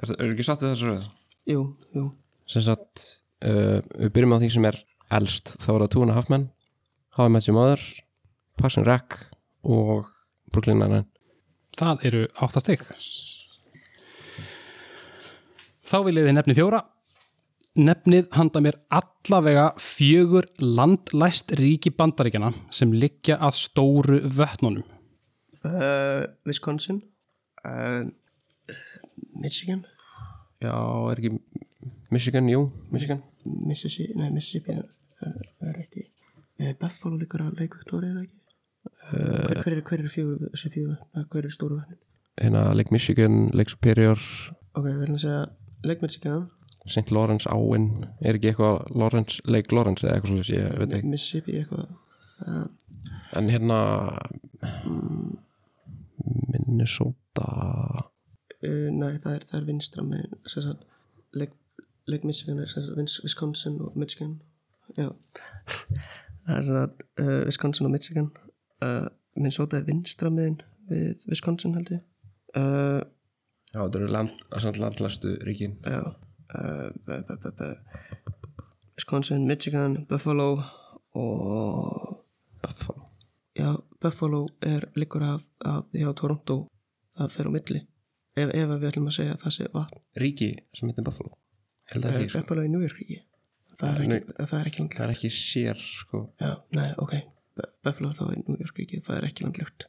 Speaker 2: Er, er ekki satt við þessu röðu?
Speaker 4: jú, jú
Speaker 2: Sem sagt, uh, við byrjum á því sem er elst Þá var það Tún og Hafmenn How I Met Your Mother Parks and Rec og Brooklyn Nine-Nine
Speaker 1: Það eru áttastig. Þá viljið þið nefni fjóra. Nefnið handa mér allavega fjögur landlæst ríki bandaríkjana sem liggja að stóru vötnunum.
Speaker 4: uh, Wisconsin uh, Michigan
Speaker 2: Já, er ekki Michigan, jú, Michigan
Speaker 4: Mississippi, nei Mississippi er, er, er ekki eh, Buffalo líkur að leik Victoria eða ekki Eh, hver, hver, er, hver er fjögur þessi fjögur eh, hver er stóru vatnin
Speaker 2: hérna Lake Michigan, Lake Superior
Speaker 4: ok, við erum að segja leik Michigan
Speaker 2: St. Lawrence áin, er ekki eitthvað Lawrence, Lake Lawrence eða eitthvað svolítið ég veit ekki,
Speaker 4: Mississippi eitthvað
Speaker 2: en hérna mm, Minnesota
Speaker 4: uh, nei það er, það er vinstra með sem sagt leik, leik Michigan er sem sagt Vins- Wisconsin og Michigan já það er sem sagt uh, Wisconsin og Michigan uh, Minnesota er vinstra meðin við Wisconsin held ég uh,
Speaker 2: Já, þetta eru land, samt landlæstu ríkin
Speaker 4: já uh, b- b- b- b- Wisconsin, Michigan, Buffalo og
Speaker 2: Buffalo
Speaker 4: já, Buffalo er líkur að, að já, Toronto það fer á milli ef, ef við ætlum að segja að það sé vatn eh,
Speaker 2: Ríki sem heitir Buffalo Held að
Speaker 4: er
Speaker 2: ekki, sko.
Speaker 4: Buffalo í New York ekki það er ekki,
Speaker 2: Nei.
Speaker 4: það er ekki landlægt
Speaker 2: það er ekki sér sko
Speaker 4: já, nei, ok Bu- Buffalo þá er New York ekki, það er ekki landlegt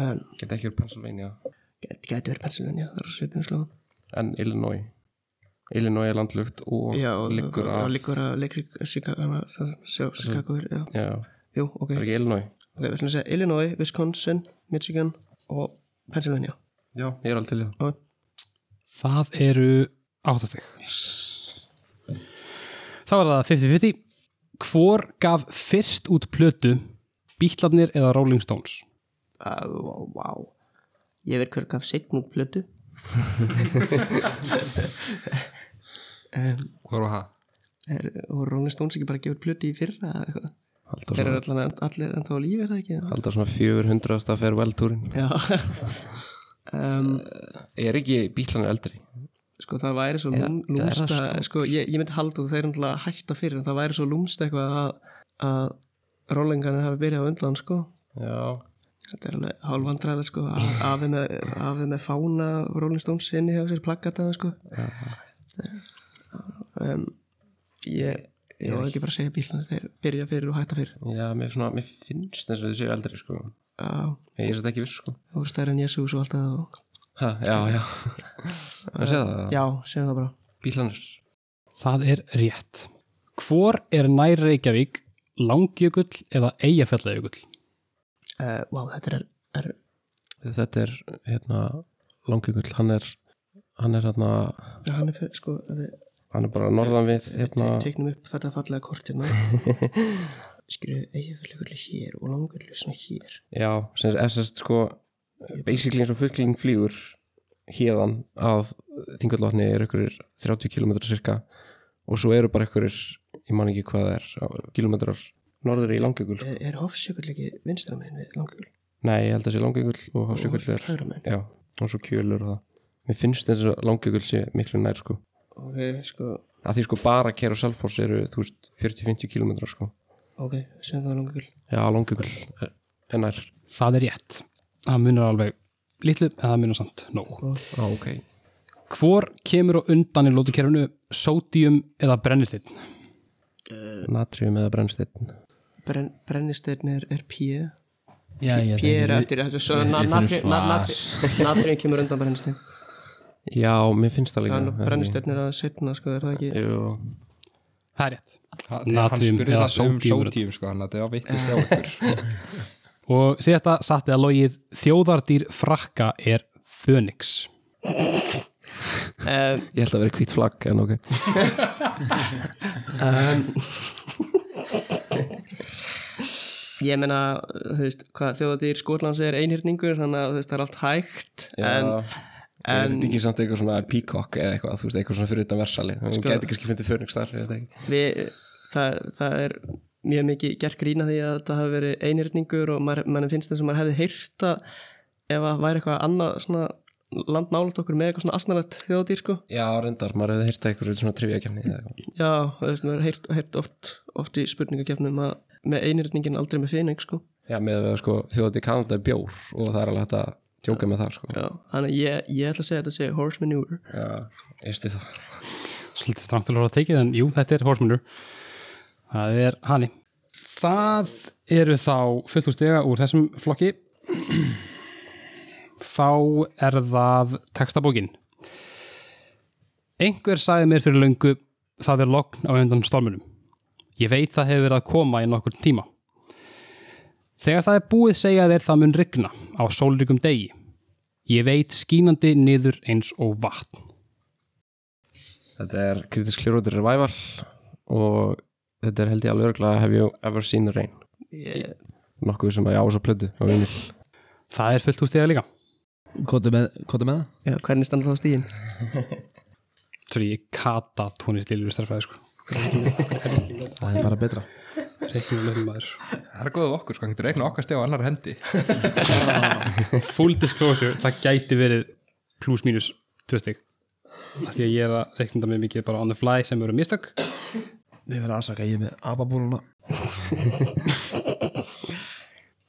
Speaker 4: en
Speaker 2: Get ekki úr Pennsylvania
Speaker 4: gæti, gæti verið Pennsylvania, það er svipum slóðum
Speaker 2: En Illinois Illinois er landlugt og
Speaker 4: já, og
Speaker 2: liggur
Speaker 4: það-
Speaker 2: af
Speaker 4: það liggur að leikur Chicago, það sjá Chicago er, já,
Speaker 2: Já,
Speaker 4: jú, ok
Speaker 2: er
Speaker 4: ok,
Speaker 2: ekki Illinois
Speaker 4: við ætlum að segja Illinois, Wisconsin, Michigan og Pennsylvania
Speaker 2: Já, ég er alveg til í það
Speaker 4: og
Speaker 1: Það eru áttastig. Þá er það 50-50. Hvor gaf fyrst út plötu Bítlarnir eða Rolling Stones?
Speaker 4: Á, vá, vá. Ég veit hver gaf segn út plötu
Speaker 5: Hvað var það?
Speaker 4: er, og Rolling Stones ekki bara gefur plötu í fyrra eða eitthvað?
Speaker 2: Halda
Speaker 4: Þeir eru
Speaker 2: svona,
Speaker 4: allan, allir ennþá á lífi er það ekki?
Speaker 2: halda svona 400. farewell-túrin
Speaker 4: Já,
Speaker 2: Er ekki bílanir eldri?
Speaker 4: sko það væri svo lúm-
Speaker 2: eða er það
Speaker 4: lúmst að, sko ég, ég myndi halda að þeir eru náttúrulega að hætta fyrir en það væri svo lúmst eitthvað að, að rollingarnir hafi byrjað á undan sko
Speaker 2: Já
Speaker 4: þetta er alveg hálfandræðilega sko af- afi með, afi með fána Rolling Stones inni hjá sér plakkataða sko um, ég ég var ekki bara að segja bílarnir þeir byrja fyrir og hætta fyrir
Speaker 2: Já, mér, svona, mér finnst eins og þau séu eldri sko.
Speaker 4: Já,
Speaker 2: Ég er þetta ekki viss sko.
Speaker 4: það voru stærri en Jésús og allt það og...
Speaker 2: ha, Já, já Það sé það,
Speaker 4: Já, segðu það bara
Speaker 2: bílanir
Speaker 1: Það er rétt. Hvor er nær Reykjavík, Langjökull eða Eyjafjallajökull?
Speaker 4: uh, Vá, þetta er, er
Speaker 2: Þetta er hérna Langjökull, hann er hann er hérna,
Speaker 4: já, hann er fyrir, sko, ef við
Speaker 2: hann er bara norðan við hérna,
Speaker 4: te- teiknum upp þetta fallega hérna. kortina Skriðu eiginfjöldlegull hér og langull svona hér
Speaker 2: já, sem er SS sko, basically eins og fullkling flýgur hérðan að þingullotni er ykkur 30 km cirka og svo eru bara ykkur, ég man ekki hvað það er á- kilometrar norður í Langjökull sko.
Speaker 4: Er, er hofsjökull ekki vinstra megin við langull?
Speaker 2: Nei, ég held að sé Langjökull og Hafsjökull er
Speaker 4: hægra megin.
Speaker 2: já, og svo kjölur og það Mér finnst þess að Langjökull sé miklu nær sko
Speaker 4: Ok, sko,
Speaker 2: að því sko bara Kær og Selfoss eru þú veist 40-50 km sko
Speaker 4: ok, segðu það langull
Speaker 2: Já, Langjökull er- er nær
Speaker 1: Það er rétt. Það munar alveg litlu, en það munar samt nóg.
Speaker 2: Á, ok
Speaker 1: Hvor kemur á undan í lótukerfinu, sódíum eða brennistinn?
Speaker 2: Natrium eða brennsteinn
Speaker 4: Bren, Brennisteinn er, er píu
Speaker 6: Já, ég
Speaker 4: Píu er eftir, þetta er svo na-
Speaker 6: við
Speaker 4: natri-
Speaker 6: þurfum
Speaker 4: na-
Speaker 6: svar.
Speaker 4: natri- Natriðin kemur undan brennisteinn
Speaker 2: Já, mér finnst það líka
Speaker 4: Brennisteinn er að setna, sko, er það ekki
Speaker 2: Jú,
Speaker 1: Það er rétt.
Speaker 5: Hann- hann
Speaker 1: Natrium
Speaker 5: spurði
Speaker 1: eða
Speaker 5: það um
Speaker 1: sódíum.
Speaker 5: sódíum sko, hann að það var vittist hjá okkur
Speaker 1: Og síðasta satt eða logið þjóðardýr frakka er Fönix.
Speaker 4: um,
Speaker 2: ég held að vera hvít flagg en ok
Speaker 4: Ég meina, þú veist, hvað þjóðatýr Skotlands er einhyrningur, þannig að þú veist, það er allt hægt en
Speaker 2: En Þetta ekki samt eitthvað svona peacock eða eitthvað, þú veist, eitthvað svona fyrir utan versali Þú gæti kannski fundið fönix þar, ég veit ekki
Speaker 4: við, það, það er mjög mikið gert grína því að það hafi verið einhyrningur og maður, maður finnst þess að maður hefði heyrt að ef að væri eitthvað annað svona land nálægt okkur með eitthvað svona asnalegt þjóðatýr sko.
Speaker 2: Já, reyndar, maður hefði hýrt eitthvað svona trivíakefni eða eitthvað
Speaker 4: Já, þú veist, maður hefur heyrt, heyrt oft, oft í spurningakefnum að með einhyrningin aldrei með finning sko.
Speaker 2: Já, með að sko, þjóðat í Kanada er bjór og það er alveg hægt að tjóka með það sko.
Speaker 4: Já, þannig að ég, ég ætla að segja þetta að segja horse manure
Speaker 2: Já, ég stið það.
Speaker 1: Svolítið strangt til að vera að tekið, en jú, þetta er Horsemanur. Það er Hanni. Það eru þá fullt úr stega úr þessum flokki. Þá er það textabókin. Einhver sagði mér fyrir löngu það er lokn á undan stormunum. Ég veit það hefur verið að koma í nokkur tíma. Þegar það er búið segja þeir það mun rigna á sólryggum degi. Ég veit skínandi niður eins og vatn.
Speaker 2: Þetta er Kritisk Clearwater Revival og þetta er held ég alveg örgulega Have You Ever Seen the Rain?
Speaker 4: ég,
Speaker 2: Nokkuð sem að ég á þess að plödu á vinil.
Speaker 1: Það er fullt úr stega líka.
Speaker 6: Kota með, kota með það?
Speaker 4: Já, hvernig standa þá stíðin?
Speaker 1: Svo ég kata tónist lillur starfræði sko.
Speaker 3: Það er bara betra
Speaker 1: Reiknum með maður.
Speaker 5: Það er góðið okkur sko, hann getur reikna okkar stið á annar hendi
Speaker 1: Full disclosure, það gæti verið plus mínus tvö stygg. Því að ég er að reikna það með mikið bara on the fly sem eru mistök.
Speaker 6: Þið verða aðsaka ég er með ababúluna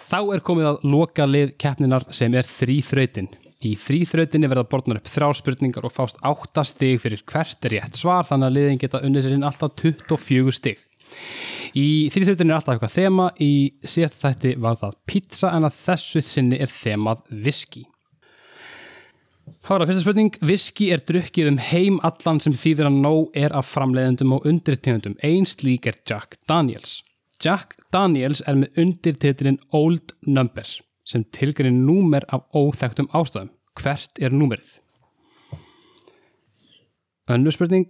Speaker 1: Þá er komið að loka lið keppninar sem er þrýþrautin. Í þrýþrautinni verða borðnar upp þrjár spurningar og fást átta stig fyrir hvert rétt svar þannig að liðin geta unnið sér inn alltaf 24 stig. Í þrýþjóttinu er alltaf eitthvað þema, í síðasta þætti var það pizza en að þessu sinni er þemað viski. Hára, fyrsta spurning, viski er drukkið um heim allan sem þýðir að nóg er af framleiðendum og undirtegundum. Ein slík er Jack Daniels. Jack Daniels er með undirtitilinn Old Number sem tilgreinir númer af óþektum ástæðum. Hvert er númerið? Önnur spurning,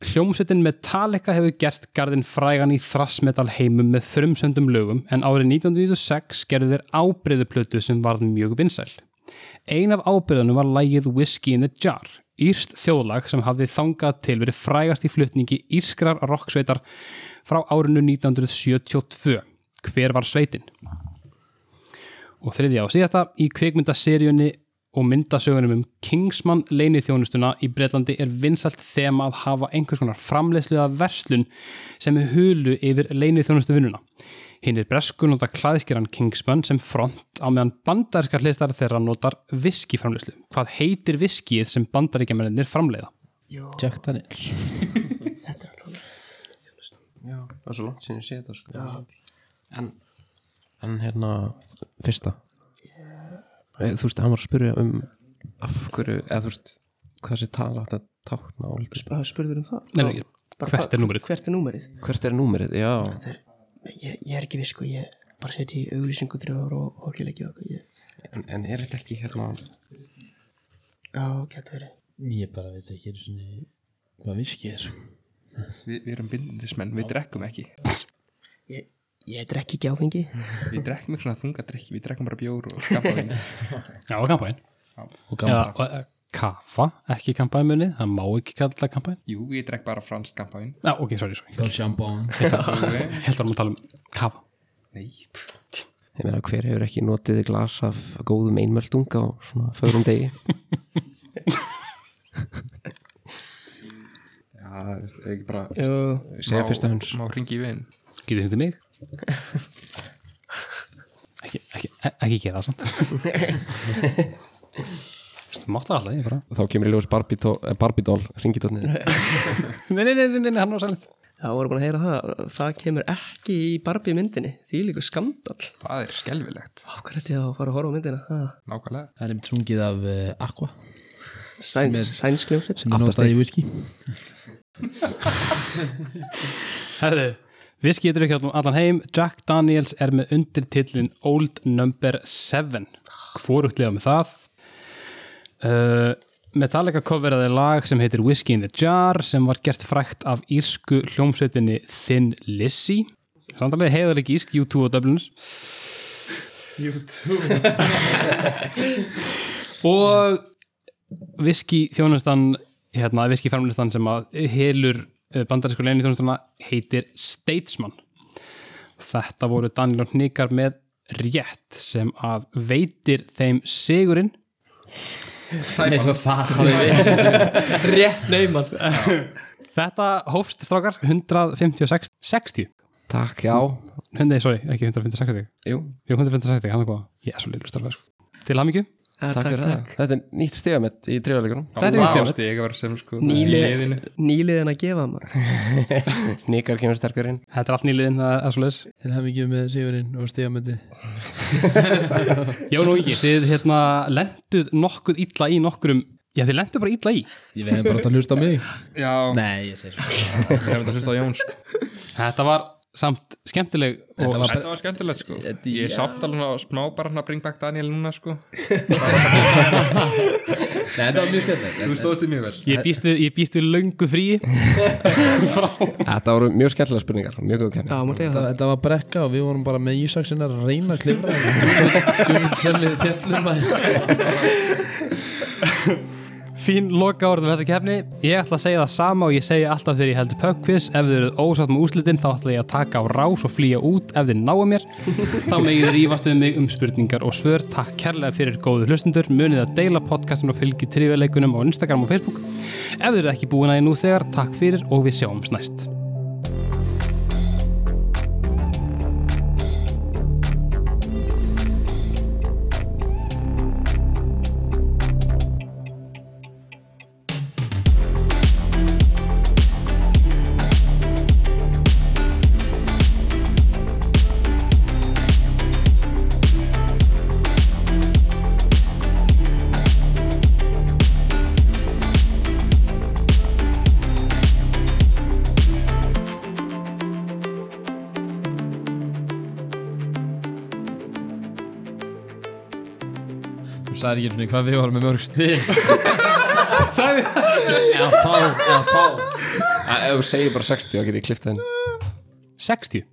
Speaker 1: Hljómsveitin Metallica hefur gert garðin frægan í þrassmetal heimum með þrumsöndum lögum en árið 1996 gerðu þeir ábreyðuplötu sem varð mjög vinsæl. Ein af ábreyðunum var lægið Whiskey in the Jar, írst þjóðlag sem hafði þangað til verið frægast í flutningi írskrar rocksveitar frá árinu 1972. Hver var sveitin? og þriðja og síðasta í kvikmyndaseríunni og myndasögunum um Kingsman leinithjónustuna í Breitlandi er vinsalt þema að hafa einhvers konar framleiðsluða verslun sem er hulu yfir leinithjónustu vinnuna. Hinn er breskun nota klæðskýran Kingsman sem front á meðan bandarískar hlistar þeirra notar viskiframleiðslu. Hvað heitir viskið sem bandaríkjamennir framleiða?
Speaker 6: Jack Daniels
Speaker 2: Já, það er svo langt sinni að sé þetta sko. en, en hérna fyrsta yeah. þú veist, hann var að spyrja um af hverju, eða þú veist hvað sé tala átt að tákna og allt.
Speaker 4: Hvað spurður um það?
Speaker 1: Nei, nei,
Speaker 4: Bara
Speaker 1: hvert
Speaker 4: hvað-
Speaker 1: er númerið?
Speaker 4: Hvert er númerið?
Speaker 2: hvert er númerið, já
Speaker 4: Þeir, ég, ég er ekki viss sko, ég bara setja í auglýsingu þrjóður og horkileggi og okkur. Ég,
Speaker 2: en, en er þetta ekki hérna
Speaker 4: já, getur verið.
Speaker 6: Ég bara veit ekki einu sinni hvað viski er
Speaker 5: Vi, við erum bindindismenn, við drekkum ekki
Speaker 4: Ég, ég drekki ekki áfengi.
Speaker 5: Við drekkum ekki svona þunga drikki, við drekkum bara bjór og skapa vinn
Speaker 1: Já, kampæn.
Speaker 6: og
Speaker 1: Eða,
Speaker 6: gamla
Speaker 1: eh, kafa, ekki kampænmunni, það má ekki kalla kampæn.
Speaker 5: Jú, ég drekk bara fransk skapa vinn
Speaker 1: Já, ok, sorry, sorry.
Speaker 6: Don Chambon
Speaker 1: Ég held að maður tala um kafa.
Speaker 5: Nei,
Speaker 2: ég meina hver hefur ekki notið glas af góðum einmöldung á svona fögrum degi já, það er ekki bara
Speaker 4: Uh,
Speaker 2: segja fyrsta hans
Speaker 5: má ringi í vinn
Speaker 1: Getið hindi mig? ekki, ekki, e- ekki gera það samt Þú máttar alltaf ég bara
Speaker 2: þá kemur í ljós eh, Barbidol ringitótnið
Speaker 1: Nei, nei, nei, nei, nei hann var sælint
Speaker 4: það voru búin að heyra það. Það kemur ekki í Barbie myndinni. Því líka skandal.
Speaker 5: Það er skelvilegt,
Speaker 4: Okkur ætti ég að fara að horfa á myndina. Ha.
Speaker 5: nákvæmlega
Speaker 6: Það er einmitt sungið af uh, Aqua
Speaker 4: Sæn, Sænsljómsveit.
Speaker 6: sem er notað í whisky
Speaker 1: Herðu, viski getur ekki allan heim Jack Daniels er með undirtillin Old Number 7 Hvorugt liða með það uh, Metallica coveraði lag sem heitir Whiskey in the Jar sem var gert frækt af írsku hljómsveitinni Thin Lizzy Samtalið heiðar ekki írsk U2 og Dubliners og viski þjónustan hérna, viski framlistan sem að helur eh, bandarísku leinu þjónustana heitir Statesman þetta voru Daniel og Hnikar með rétt sem að veitir þeim sigurinn
Speaker 6: eins og það hafi verið
Speaker 4: Rétt neyman.
Speaker 1: þetta hófst strákar 156 60
Speaker 2: takk, já
Speaker 1: Nei, sorry, ekki 156
Speaker 2: Jú,
Speaker 1: Jú, 156, hann er hvað Ég er svo leilur starfið sko Til hamingju
Speaker 2: takk fyrir það. Þetta er nýtt stegamitt í trefalegunum.
Speaker 1: Þetta er víst
Speaker 5: Vá,
Speaker 1: fjölmett.
Speaker 5: stig að vera sem sko
Speaker 4: Nýliðin, nýliðin að gefa maður.
Speaker 2: Nikar kemur sterkur inn.
Speaker 1: Þetta er allt nýliðin, það er svo leiðis
Speaker 6: Til hafingið með Sigurinn og Stígamöndi
Speaker 1: Jón og Ingi, þið hérna lenduð nokkuð illa í nokkurum Já, þið lenduð bara illa í
Speaker 6: Ég veit bara að hlusta á mig
Speaker 5: Já,
Speaker 6: Nei, ég segir svo
Speaker 5: ég hef þetta hlusta á sko. Jóns
Speaker 1: Þetta var samt skemmtileg og
Speaker 6: var
Speaker 5: Þetta var skemmtilegt sko Ég er samt alveg að smá bara hann að bring back Daniel núna sko
Speaker 6: Nei, þetta var mjög skemmt
Speaker 5: Þú stóðst þig mjög vel
Speaker 1: ég býst við, ég býst við löngu frí frá
Speaker 2: Þetta voru mjög skemmtilega spurningar, mjög góð kenni.
Speaker 4: Já, maður tegja það.
Speaker 6: Þetta, þetta var brekka og við vorum bara með Ísaksin að reyna að klifra Djúvind sem við fjallum að
Speaker 1: fín loka orðum þessa kefni ég ætla að segja það sama og ég segja alltaf þegar ég held pubquiz ef þið eruð ósátt með úslitin þá ætla ég að taka á rás og flýja út ef þið náu mér þá megið þið rífast um mig um spurningar og svör takk kærlega fyrir góðu hlustundur munið að deila podcastin og fylgi trivialeikunum á Instagram og Facebook ef þið eruð ekki búin að ég nú þegar takk fyrir og við sjáumst næst
Speaker 6: Þú sagði ekki svona hvað við varum með mörg stig
Speaker 1: Sæði
Speaker 6: Já, þá, já, þá
Speaker 2: Ef þú segir bara 60 þá get ég kliftað inn
Speaker 1: 60